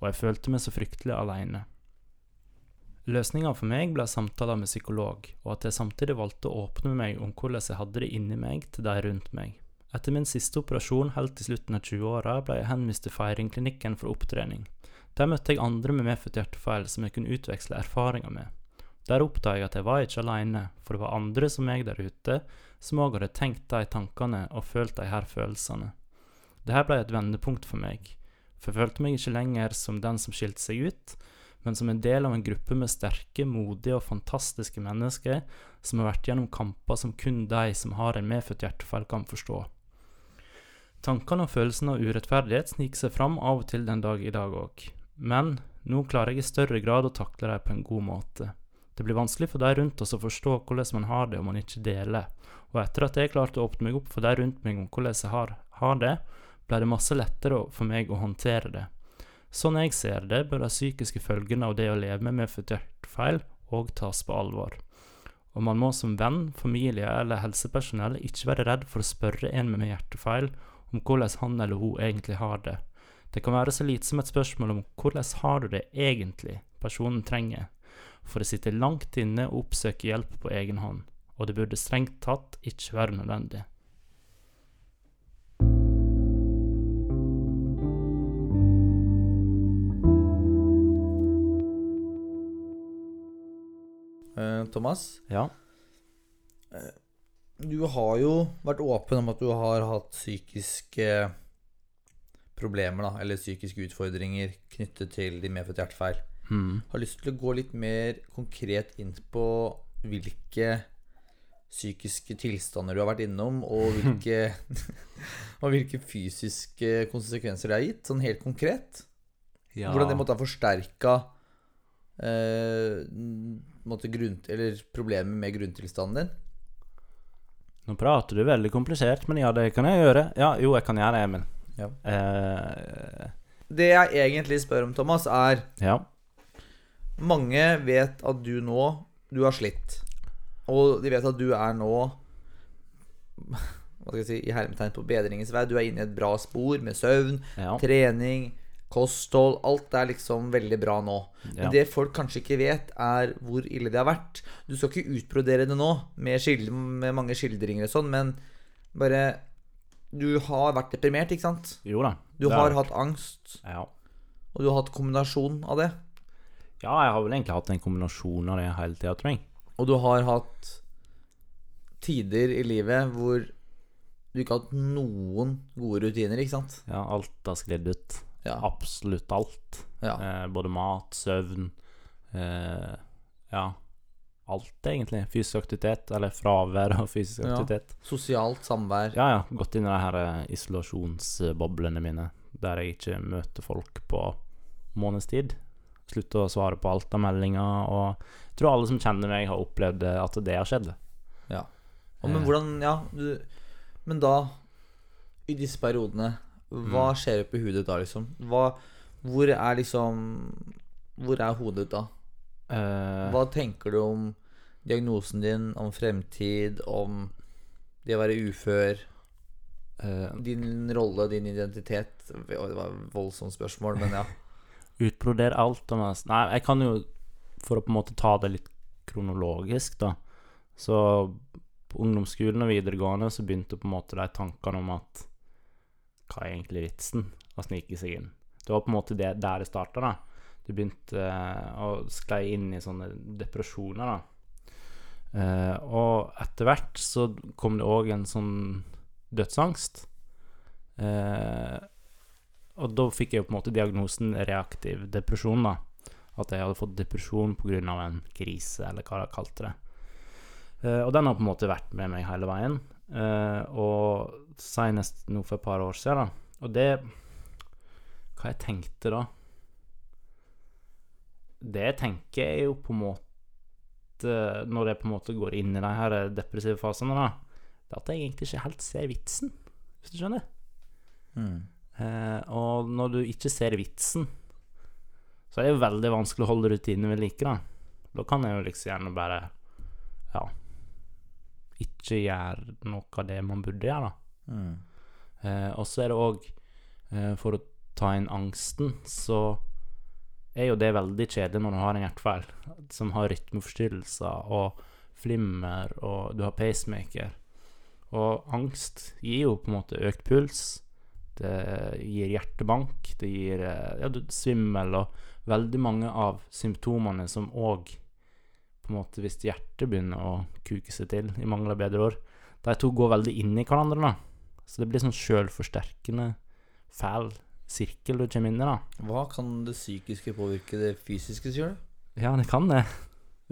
B: og jeg følte meg så fryktelig alene. Løsninga for meg ble samtaler med psykolog, og at jeg samtidig valgte å åpne meg om hvordan jeg hadde det inni meg til de rundt meg. Etter min siste operasjon helt til slutten av 20-åra ble jeg henvist til Feiringklinikken for opptrening. Der møtte jeg andre med medfødt hjertefeil som jeg kunne utveksle erfaringer med. Der oppdaga jeg at jeg var ikke alene, for det var andre som meg der ute som òg hadde tenkt de tankene og følt de her følelsene. Det her ble et vendepunkt for meg, for jeg følte meg ikke lenger som den som skilte seg ut, men som en del av en gruppe med sterke, modige og fantastiske mennesker som har vært gjennom kamper som kun de som har en medfødt hjertefeil, kan forstå. Tankene og følelsen av urettferdighet sniker seg fram av og til den dag i dag òg, men nå klarer jeg i større grad å takle dem på en god måte. Det blir vanskelig for de rundt oss å forstå hvordan man har det om man ikke deler. Og etter at jeg klarte å åpne meg opp for de rundt meg om hvordan jeg har, har det, ble det masse lettere å- for meg å håndtere det. Sånn jeg ser det, bør de psykiske følgene av det å leve med medfødtfeil òg tas på alvor. Og man må som venn, familie eller helsepersonell ikke være redd for å spørre en med hjertefeil om hvordan han eller hun egentlig har det. Det kan være så lite som et spørsmål om hvordan har du det egentlig personen trenger, for det sitter langt inne å oppsøke hjelp på egen hånd, og det burde strengt tatt ikke være nødvendig.
A: Eh, Thomas, Eh,
B: Ja,
A: du har jo vært åpen om at du har hatt psykiske problemer, da, eller psykiske utfordringer knyttet til de medfødte hjertefeil.
B: hmm.
A: Har lyst til å gå litt mer konkret inn på hvilke psykiske tilstander du har vært innom, og hvilke, og hvilke fysiske konsekvenser det har gitt, sånn helt konkret.
B: ja.
A: Hvordan det måtte ha forsterka eh, n- måtte grunn, eller problemet med grunntilstanden din.
B: Nå prater du veldig komplisert, men ja, det kan jeg gjøre. Ja, jo, jeg kan gjøre det, Emil.
A: Ja.
B: Eh,
A: Det jeg egentlig spør om, Thomas, er
B: ja.
A: Mange vet at du nå Du har slitt. Og de vet at du er nå Hva skal jeg si I hermetegn på bedringens vei. Du er inne i et bra spor med søvn,
B: Ja.
A: trening, kosthold. Alt er liksom veldig bra nå. Men
B: Ja.
A: det folk kanskje ikke vet, er hvor ille det har vært. Du skal ikke utbrodere det nå med, skil- med mange skildringer og sånn, men bare Du har vært deprimert, ikke sant?
B: Jo da.
A: Du
B: det
A: har
B: er-
A: hatt angst,
B: ja.
A: og du har hatt kombinasjon av det.
B: ja, jeg har vel egentlig hatt en kombinasjon av det hele tida, tror jeg.
A: Og du har hatt tider i livet hvor du ikke har hatt noen gode rutiner, ikke sant?
B: Ja, alt har sklidd ut.
A: Ja.
B: Absolutt alt.
A: Ja.
B: Eh, både mat, søvn eh, Ja. Alt, egentlig. Fysisk aktivitet, eller fravær av fysisk
A: Ja.
B: aktivitet.
A: Sosialt samvær.
B: Ja, ja. Gått inn i de her eh, isolasjonsboblene mine, der jeg ikke møter folk på måneds tid. Slutte å svare på alt av meldinger, og jeg tror alle som kjenner meg, har opplevd eh, at det har skjedd.
A: Og men hvordan Ja, du Men da, i disse periodene, hva skjer oppi hodet da, liksom? Hva Hvor er liksom Hvor er hodet ditt da?
B: Eh,
A: Hva tenker du om diagnosen din, om fremtid, om det å være ufør?
B: eh,
A: Din rolle, din identitet Oi, Det var et voldsomt spørsmål, men ja.
B: Utbroder alt Thomas. Nei, jeg kan jo For å på en måte ta det litt kronologisk, da. Så på ungdomsskolen og videregående så begynte på en måte de tankene om at Hva er egentlig vitsen å snike seg inn? Det var på en måte det, der det starta, da. Du begynte eh, å sklei inn i sånne depresjoner, da. Eh, og etter hvert så kom det òg en sånn dødsangst. Eh, og da fikk jeg jo på en måte diagnosen reaktiv depresjon, da. At jeg hadde fått depresjon pga. en krise, eller hva de kalte det. Eh, og den har på en måte vært med meg hele veien. Eh, og senest nå for et par år siden, da. Og det Hva jeg tenkte da? Det jeg tenker, er jo på en måte Når jeg på en måte går inn i de her depressive fasene, da, det er at jeg egentlig ikke helt ser vitsen, hvis du skjønner?
A: Mm,
B: Eh, og når du ikke ser vitsen, så er det jo veldig vanskelig å holde rutinene ved like. Da Da kan jeg jo liksom gjerne bare Ja Ikke gjøre noe av det man burde gjøre, da.
A: mm.
B: Eh, og så er det òg eh, For å ta inn angsten, så er jo det veldig kjedelig når du har en hjertefeil som har rytmeforstyrrelser og flimmer, og du har pacemaker. Og angst gir jo på en måte økt puls. Det gir hjertebank, det gir eh, ja, du, svimmel og veldig mange av symptomene som òg på en måte Hvis hjertet begynner å kuke seg til, i mangel av bedre ord De to går veldig inn i hverandre, da. Så det blir sånn sjølforsterkende, fæl sirkel du kommer inn i, da.
A: Hva kan det psykiske påvirke det fysiske, sier du?
B: Ja, det kan det.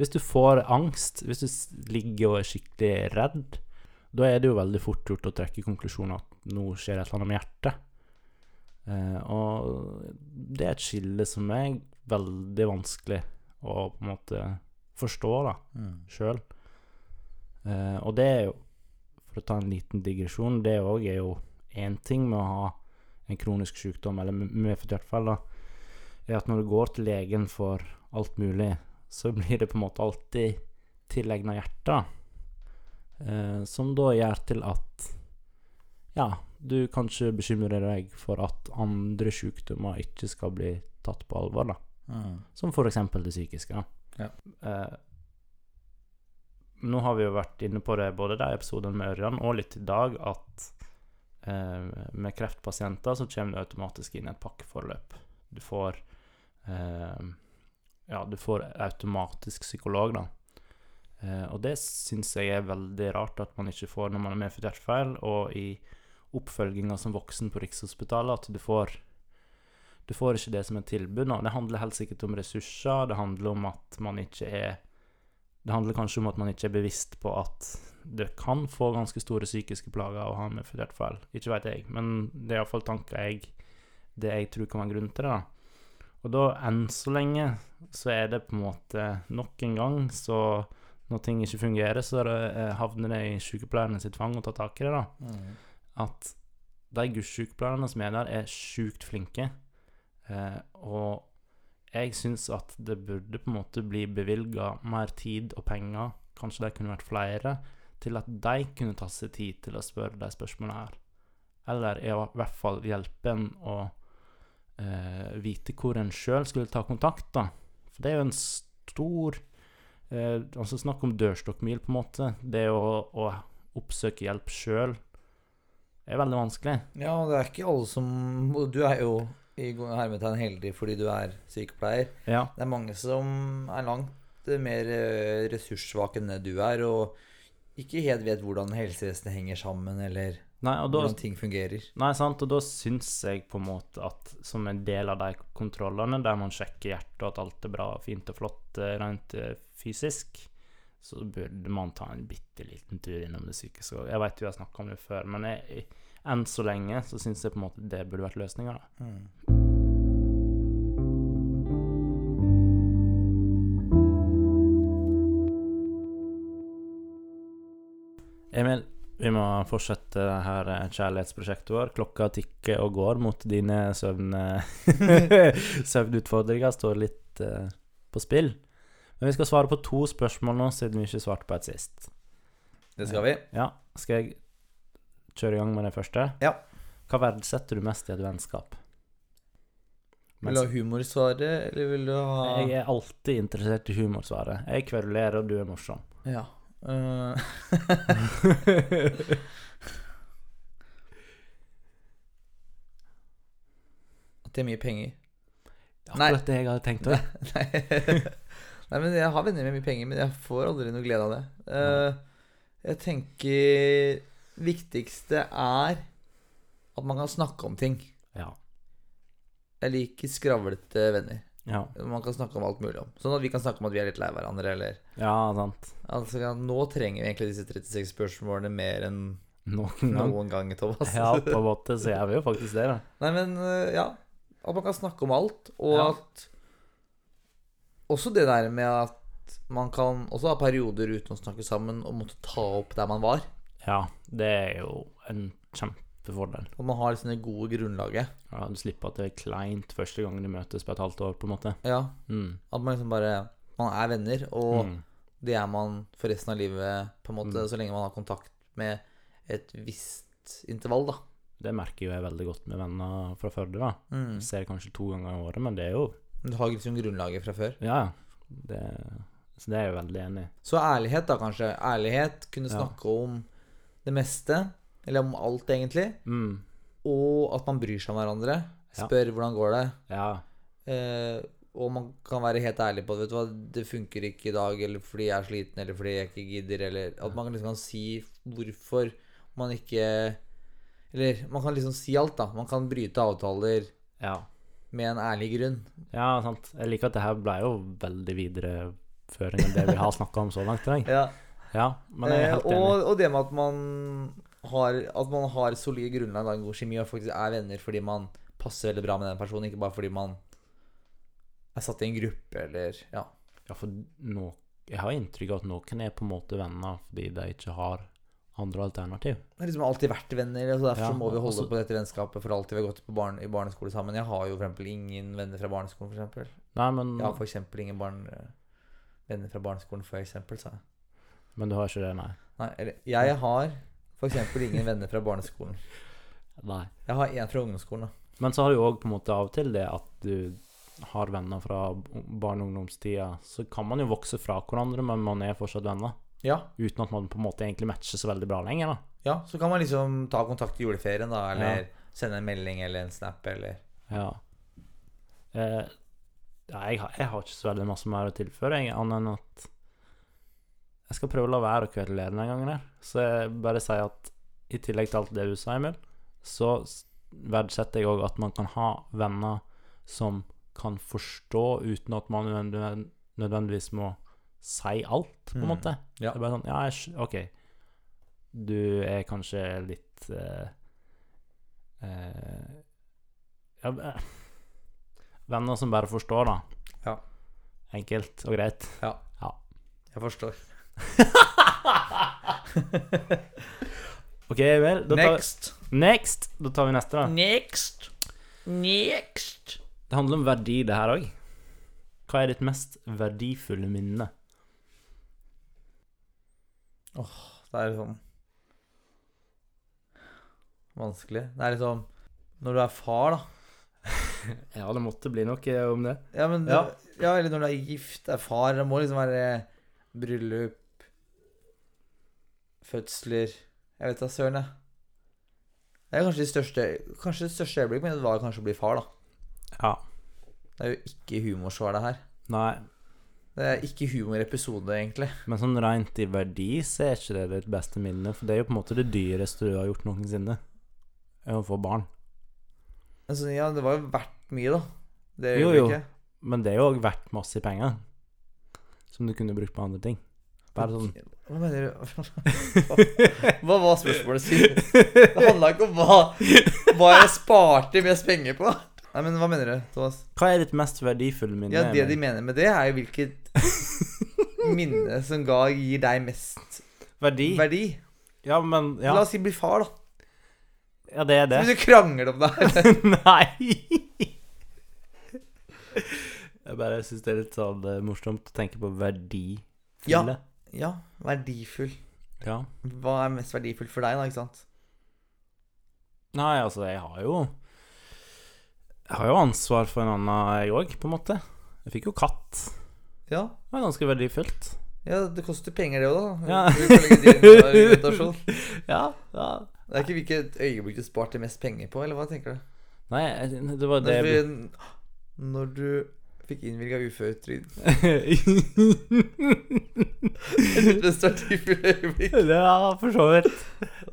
B: Hvis du får angst, hvis du s- ligger og er skikkelig redd, da er det jo veldig fort gjort å trekke konklusjonen at nå skjer et eller annet med hjertet. Eh, og det er et skille som er veldig vanskelig å på en måte forstå da,
A: Mm.
B: sjøl. Eh, og det er jo, for å ta en liten digresjon, det òg er jo én ting med å ha en kronisk sykdom, eller med- medfødt hjertefeil, da, er at når du går til legen for alt mulig, så blir det på en måte alltid tilegna hjertet, eh, som da gjør til at ja, du kanskje bekymrer deg for at andre sykdommer ikke skal bli tatt på alvor, da.
A: Mm.
B: Som for eksempel det psykiske.
A: Ja.
B: Eh, nå har vi jo vært inne på det både de episodene med Ørjan og litt i dag, at eh, med kreftpasienter så kommer det automatisk inn et pakkeforløp. Du får eh, Ja, du får automatisk psykolog, da. Eh, og det syns jeg er veldig rart at man ikke får når man er medfødt hjertefeil, og i oppfølginga som voksen på Rikshospitalet, at du får du får ikke det som et tilbud. nå. Det handler helt sikkert om ressurser, det handler om at man ikke er Det handler kanskje om at man ikke er bevisst på at det kan få ganske store psykiske plager å ha med fødert feil. Ikke veit jeg, men det er iallfall tanker jeg Det jeg tror kan være grunnen til det. da. Og da, enn så lenge, så er det på en måte Nok en gang, så når ting ikke fungerer, så er det, eh, havner det i sykepleierne sitt fang å ta tak i det, da
A: Mm.
B: at de gudssykepleierne som er der, er sjukt flinke. Eh, og jeg syns at det burde på en måte bli bevilga mer tid og penger, kanskje de kunne vært flere, til at de kunne ta seg tid til å spørre de spørsmålene her. Eller i hvert fall hjelpe en å eh, vite hvor en sjøl skulle ta kontakt, da. For det er jo en stor eh, Altså snakk om dørstokkmil, på en måte. Det å, å oppsøke hjelp sjøl er veldig vanskelig.
A: Ja, og det er ikke alle som Du er jo i hermetegn heldig fordi du er sykepleier.
B: Ja.
A: Det er mange som er langt mer eh, ressurssvake enn det du er, og ikke helt vet hvordan helsevesenet henger sammen, eller
B: Nei, og da,
A: hvordan ting fungerer.
B: nei, sant, og da syns jeg på en måte at som en del av de kontrollene der man sjekker hjertet og at alt er bra, fint og flott eh, rent eh, fysisk, så burde man ta en bitte liten tur innom det psykiske òg. Jeg veit vi har snakka om det før, men jeg, enn så lenge så syns jeg på en måte det burde vært løsninga.
A: Mm.
B: Emil, vi må fortsette det her eh, kjærlighetsprosjektet vår. Klokka tikker og går mot dine søvn... eh, søvnutfordringer. Står litt eh, på spill. Men vi skal svare på to spørsmål nå, siden vi ikke svarte på et sist.
A: Det skal vi.
B: Ja, Skal jeg kjøre i gang med det første?
A: Ja.
B: Hva verdsetter du mest i et vennskap?
A: Vil du ha humorsvaret, eller vil du ha
B: Jeg er alltid interessert i humorsvaret. Jeg kverulerer, og du er morsom.
A: Ja. eh, at det er mye penger. Nei.
B: Akkurat det jeg hadde tenkt òg.
A: Nei. Nei, men jeg har venner med mye penger, men jeg får aldri noe glede av det. Eh, jeg tenker viktigste er at man kan snakke om ting.
B: Ja.
A: Jeg liker skravlete venner.
B: Ja.
A: Man kan snakke om alt mulig om. Sånn at vi kan snakke om at vi er litt lei hverandre, eller
B: ja, sant.
A: Altså, ja, nå trenger vi egentlig disse 36 spørsmålene mer enn
B: Noen ganger.
A: noen gang, Thomas.
B: Ja, på en måte så gjør vi jo faktisk det, da.
A: Nei, men eh, ja. At man kan snakke om alt, og
B: Ja.
A: at Også det der med at man kan også ha perioder uten å snakke sammen og måtte ta opp der man var.
B: Ja, det er jo en kjempefordel.
A: At man har liksom det gode grunnlaget.
B: Ja, du slipper at det er kleint første gang du møtes på et halvt år, på en måte.
A: Ja,
B: Mm.
A: At man liksom bare Man er venner, og
B: Mm.
A: det er man for resten av livet, på en måte, så lenge man har kontakt med et visst intervall, da.
B: Det merker jo jeg veldig godt med venner fra Førde, da.
A: Mm.
B: Jeg ser kanskje to ganger i året, men det er jo
A: Men Du har liksom grunnlaget fra før.
B: Ja, ja. Det, så det er jeg jo veldig enig i.
A: Så ærlighet, da, kanskje. Ærlighet. Kunne
B: Ja.
A: snakke om det meste. Eller om alt, egentlig.
B: Mm.
A: Og at man bryr seg om hverandre.
B: Ja.
A: Spør hvordan går det.
B: Ja.
A: Eh, og man kan være helt ærlig på det. Vet du hva, det funker ikke i dag, eller fordi jeg er sliten, eller fordi jeg ikke gidder, eller At man liksom kan si hvorfor man ikke Eller man kan liksom si alt, da. Man kan bryte avtaler
B: ja.
A: med en ærlig grunn.
B: Ja, sant. Jeg liker at det her ble jo veldig videreføring enn det vi har snakka om så langt i dag.
A: Ja.
B: Ja, men jeg er helt
A: eh,
B: enig.
A: og, og det med at man har, at man har solide grunnlag, da, en god kjemi, og faktisk er venner fordi man passer veldig bra med den personen, ikke bare fordi man er satt i en gruppe, eller Ja.
B: Ja, for noe Jeg har inntrykk av at noen er på en måte venner fordi de ikke har andre alternativ.
A: Vi har liksom alltid vært venner, og så derfor
B: Ja,
A: så må vi holde
B: også-
A: på dette vennskapet for alltid. Vi har gått på barn, i barneskole sammen. Jeg har jo for eksempel ingen venner fra barneskolen, for eksempel.
B: Nei, men,
A: Jeg har for eksempel ingen barn, eh, venner fra barneskolen, for eksempel, sa jeg.
B: men du har ikke det, nei?
A: Nei, eller jeg har for eksempel ingen venner fra barneskolen.
B: Nei.
A: Jeg har én fra ungdomsskolen, da.
B: Men så har du òg på en måte av og til det at du har venner fra barne- og ungdomstida. Så kan man jo vokse fra hverandre, men man er fortsatt venner.
A: Ja,
B: Uten at man på en måte egentlig matcher så veldig bra lenger, da.
A: ja, så kan man liksom ta kontakt i juleferien, da, eller sende en melding eller en snap, eller
B: Ja. Eh, ja, jeg, har, jeg har ikke så veldig masse mer å tilføre, jeg, annet enn at jeg skal prøve å la være å kverulere denne gangen her. Så jeg bare sier at i tillegg til alt det du sa, Emil, så s- verdsetter jeg òg at man kan ha venner som kan forstå uten at man nødvendig- nødvendigvis må si alt, på en
A: Mm.
B: måte.
A: Ja.
B: Det er bare sånn Ja, jeg, skj- OK. Du er kanskje litt eh, eh, ja, eh, Venner som bare forstår, da.
A: Ja.
B: Enkelt og greit.
A: Jeg forstår.
B: OK, vel. Da tar
A: Next!
B: Vi, next! Da tar vi neste, da.
A: Next! Next!
B: Det handler om verdi, det her òg. Hva er ditt mest verdifulle minne?
A: Det er liksom Vanskelig. Det er liksom Når du er far, da.
B: Ja, det måtte bli noe eh, om det.
A: Ja, men
B: Ja.
A: ja, eller når du er gift, er far Det må liksom være bryllup Fødsler Jeg vet da søren, jeg. Det er kanskje det største Kanskje det største øyeblikket mitt var kanskje å bli far, da.
B: Ja.
A: Det er jo ikke humorsvar, det her.
B: Nei,
A: Det er ikke humorepisode, egentlig.
B: men sånn rent i verdi så er ikke det ditt beste minne, for det er jo på en måte det dyreste du har gjort noensinne. Er å få barn.
A: Altså, ja, det var jo verdt mye, da. Det
B: Jo, jo.
A: øyeblikket.
B: Men det er jo òg verdt masse penger. Som du kunne brukt på andre ting. Bare sånn
A: Hva mener du? Hva var spørsmålet sitt? Det handla ikke om hva, hva jeg sparte mest penger på. Nei, men hva mener du, Thomas?
B: Hva er ditt mest verdifulle minne?
A: Ja, det de
B: Emil?
A: mener med det, er jo hvilket minne som ga, gir deg mest
B: Verdi?
A: verdi.
B: Ja, men
A: La
B: ja.
A: oss si bli far, da.
B: ja, det er
A: Så
B: det.
A: begynner du å krangle om det her.
B: Nei! Jeg bare syns det er litt sånn eh, morsomt å tenke på verdifulle.
A: Ja, verdifull.
B: ja.
A: Hva er mest verdifullt for deg, da, ikke sant?
B: Nei, altså, jeg har jo Jeg har jo ansvar for en annen, jeg òg, på en måte. Jeg fikk jo katt.
A: Ja,
B: Det var ganske verdifullt.
A: ja det koster penger, det òg, da.
B: Ja.
A: Du kan legge det inn i argumentasjon.
B: Ja, ja.
A: Det er ikke hvilket øyeblikk du sparte mest penger på, eller hva tenker du?
B: Nei, jeg- det var det
A: Når
B: jeg
A: du, når du fikk innvilga uføretrygd Det mest verdifulle øyeblikk.
B: Ja, for så vidt.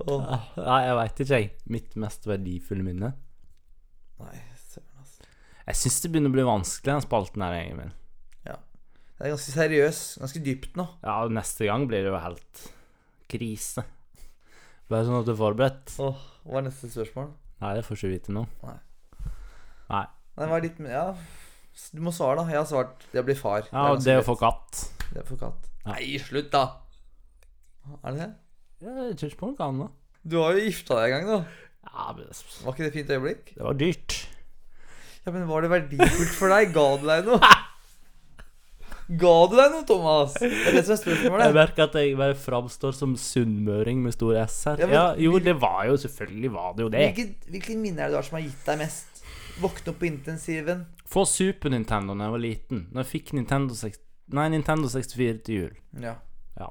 A: Åh,
B: Nei, jeg veit ikke, jeg. Mitt mest verdifulle minne.
A: nei, søren, altså.
B: Jeg syns det begynner å bli vanskelig, den spalten her, Emil.
A: Det er ganske seriøs. Ganske dypt nå.
B: Ja, neste gang blir det jo helt krise. Bare sånn at du er forberedt.
A: Åh, hva er neste spørsmål?
B: Nei, det får du ikke vite nå.
A: Nei, hva er ditt Ja, s- du må svare, da. Jeg har svart jeg blir far.
B: Ja, og
A: ganske
B: det å
A: lett.
B: få katt.
A: Det er for katt.
B: Ja.
A: Nei, slutt, da! Er det det?
B: Ja, jeg tror ikke på noe annet.
A: Du har jo gifta deg en gang, da.
B: Ja, men det
A: Var ikke det et fint øyeblikk?
B: var dyrt.
A: Ja, Men var det verdifullt for deg? Ga det deg noe? Ga det deg noe, Thomas? Det er det som er
B: Jeg
A: spørsmålet.
B: merker at jeg bare framstår som sunnmøring med stor S her.
A: Ja,
B: Ja,
A: men-
B: jo, det var jo selvfølgelig var det jo det.
A: Hvilke, hvilke minner er det du har som har gitt deg mest? Våkne opp på intensiven.
B: Få Super Nintendo da jeg var liten. Når jeg fikk Nintendo, 6... Nei, Nintendo 64 til jul.
A: Ja.
B: Ja.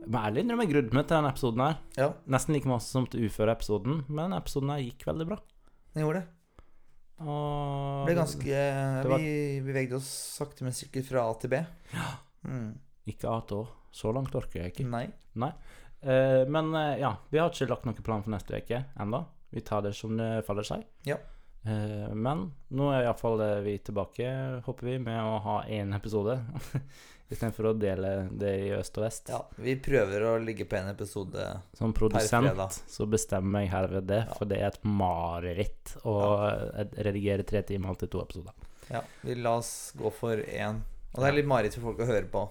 B: Jeg må ærlig innrømme jeg grudde meg til denne episoden her.
A: Ja,
B: Nesten like masse som til uføre-episoden, men episoden her gikk veldig bra.
A: den gjorde det.
B: Og
A: Det ble ganske eh,
B: var-
A: Vi bevegde oss sakte, men sikkert fra A til B. Mm.
B: Ikke A til Å. Så langt orker jeg ikke.
A: Nei.
B: Eh, men eh, ja, vi har ikke lagt noen plan for neste uke ennå. Vi tar det som det faller seg.
A: Ja.
B: Eh, Men nå er iallfall eh, vi tilbake, håper vi, med å ha én episode. Istedenfor å dele det i øst og vest.
A: Ja, vi prøver å ligge på en episode.
B: Som
A: fredag.
B: produsent så bestemmer jeg herved det,
A: Ja.
B: for det er et mareritt å eh, redigere tre timer til to episoder.
A: Ja, vi la oss gå for én. Og det er litt mareritt for folk å høre på.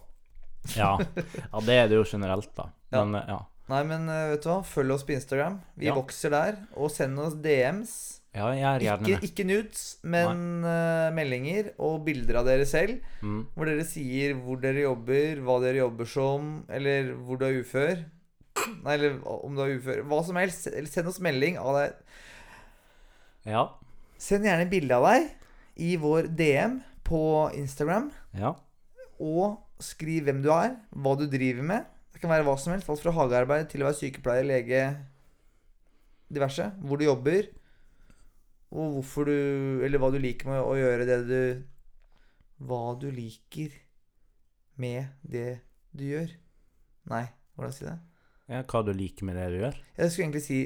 B: Ja. ja, det er det jo generelt, da.
A: Ja.
B: Men eh, ja.
A: Nei, men eh, vet du hva? Følg oss på Instagram. Vi
B: Ja.
A: vokser der. Og send oss DMs.
B: ja jeg er gjerne
A: Ikke,
B: med.
A: ikke nudes, men eh, meldinger og bilder av dere selv.
B: Mm.
A: Hvor dere sier hvor dere jobber, hva dere jobber som, eller hvor du er ufør. Nei, eller om du er ufør. Hva som helst. Eller send oss melding av deg.
B: Ja.
A: Send gjerne bilde av deg i vår DM på Instagram.
B: ja.
A: Og skriv hvem du er, hva du driver med. Det kan være hva som helst. Alt fra hagearbeid til å være sykepleier, lege, diverse. Hvor du jobber, og hvorfor du Eller hva du liker med å gjøre det du Hva du liker med det du gjør. Nei, hvordan si det?
B: ja. Hva du liker med det du gjør.
A: Jeg skulle egentlig si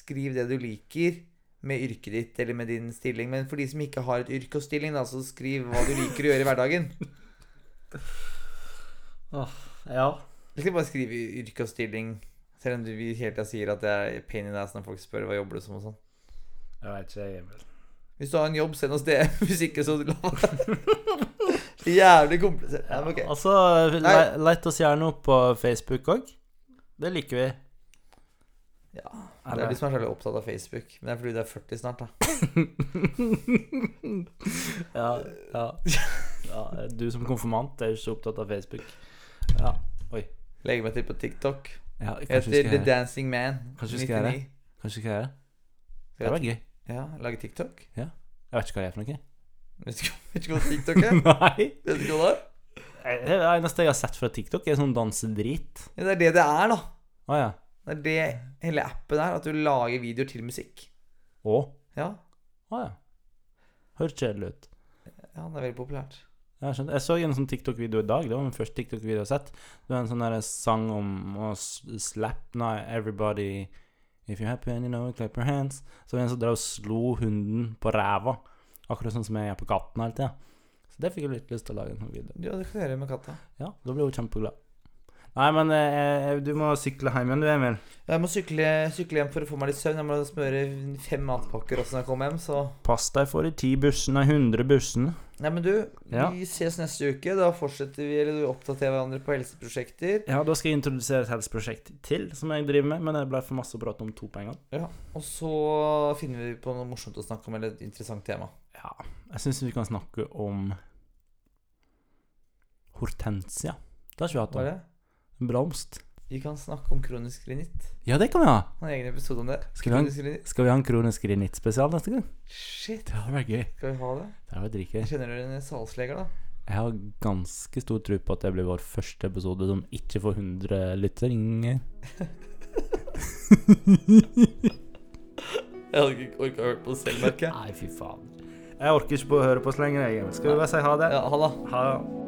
A: skriv det du liker med yrket ditt eller med din stilling. Men for de som ikke har et yrke og stilling, da, så skriv hva du liker å gjøre i hverdagen.
B: Ja.
A: Jeg skal bare skrive yrke og stilling, selv om du vi hele tida sier at det er pain in the ass når folk spør hva jobber du som og sånn.
B: Jeg vet ikke, Emil.
A: Hvis du har en jobb, send oss det. Hvis ikke, så la være. Jævlig komplisert. Nei,
B: Ja,
A: men ok.
B: Altså,
A: Nei.
B: le- let oss gjerne opp på Facebook òg. Det liker vi.
A: Ja, Det er
B: Eller-
A: de som er så veldig opptatt av Facebook. Men det er fordi du er 40 snart, da.
B: ja, ja. ja. Du som konfirmant er jo ikke så opptatt av Facebook. Ja.
A: Legger meg til på TikTok.
B: ja
A: Jeg
B: kanskje vi
A: heter
B: skal
A: The
B: gjøre det.
A: Dancing Man.
B: Kanskje vi skal gjøre det?
A: 99.
B: Kanskje vi skal gjøre det. Det
A: Skal jeg-
B: hadde vært gøy.
A: Ja, lage TikTok?
B: Jeg vet ikke hva det er for noe.
A: Vet du ikke- vet du ikke hva Tiktok er?
B: Nei.
A: Vet du ikke hva det er?
B: Det er det eneste jeg har sett fra TikTok, er sånn dansedrit.
A: Ja, Det er det det er, da.
B: Å ja.
A: Det er det hele appen er. At du lager videoer til musikk.
B: Å?
A: Ja,
B: Å ja. Høres kjedelig ut.
A: ja det er veldig populært.
B: Jeg, skjønner. jeg så en sånn TikTok-video i dag. Det var min første TikTok-video jeg har sett. Det var en sånn der sang om å s- slap Nei, everybody If you're happy and you know it, clap your hands. Så det var en som drev og slo hunden på ræva. Akkurat sånn som jeg gjør på katten hele tida. Så det fikk jeg litt lyst til å lage en sånn video.
A: Ja, det kan du gjøre med katta.
B: Ja, da ble hun kjempeglad. Nei, men eh, eh, du må sykle hjem igjen du, Emil.
A: Jeg må sykle, sykle hjem for å få meg litt søvn. Jeg må smøre fem matpakker også når jeg kommer hjem, så
B: Pass deg for de ti bussene, 100 bussene.
A: Nei, men du,
B: Ja.
A: vi ses neste uke. Da fortsetter vi eller oppdaterer hverandre på helseprosjekter.
B: Ja, da skal jeg introdusere et helseprosjekt til som jeg driver med, men det ble for masse å prate om to på en gang.
A: Og så finner vi på noe morsomt å snakke om, eller et interessant tema.
B: Ja, jeg syns vi kan snakke om hortensia. Det har ikke vi hatt
A: Hva er
B: om.
A: det?
B: Blomst.
A: Vi kan snakke om kronisk grinitt.
B: Ja, det kan vi ha.
A: Han har egen episode om det.
B: Skal vi ha en-
A: Kronisk grinitt.
B: Skal vi ha en kronisk grinittspesial neste gang?
A: Shit,
B: Det hadde vært gøy.
A: skal vi ha det?
B: Det hadde vært dritgøy.
A: Kjenner du en salgsleger, da?
B: Jeg har ganske stor tro på at det blir vår første episode som ikke får 100 lytteringer.
A: Jeg hadde ikke orka å høre på det selv, merker jeg.
B: Nei, fy faen. Jeg orker ikke på å høre på så lenge, jeg. Skal vi bare si ha det?
A: Ja, ha det.
B: Ha det.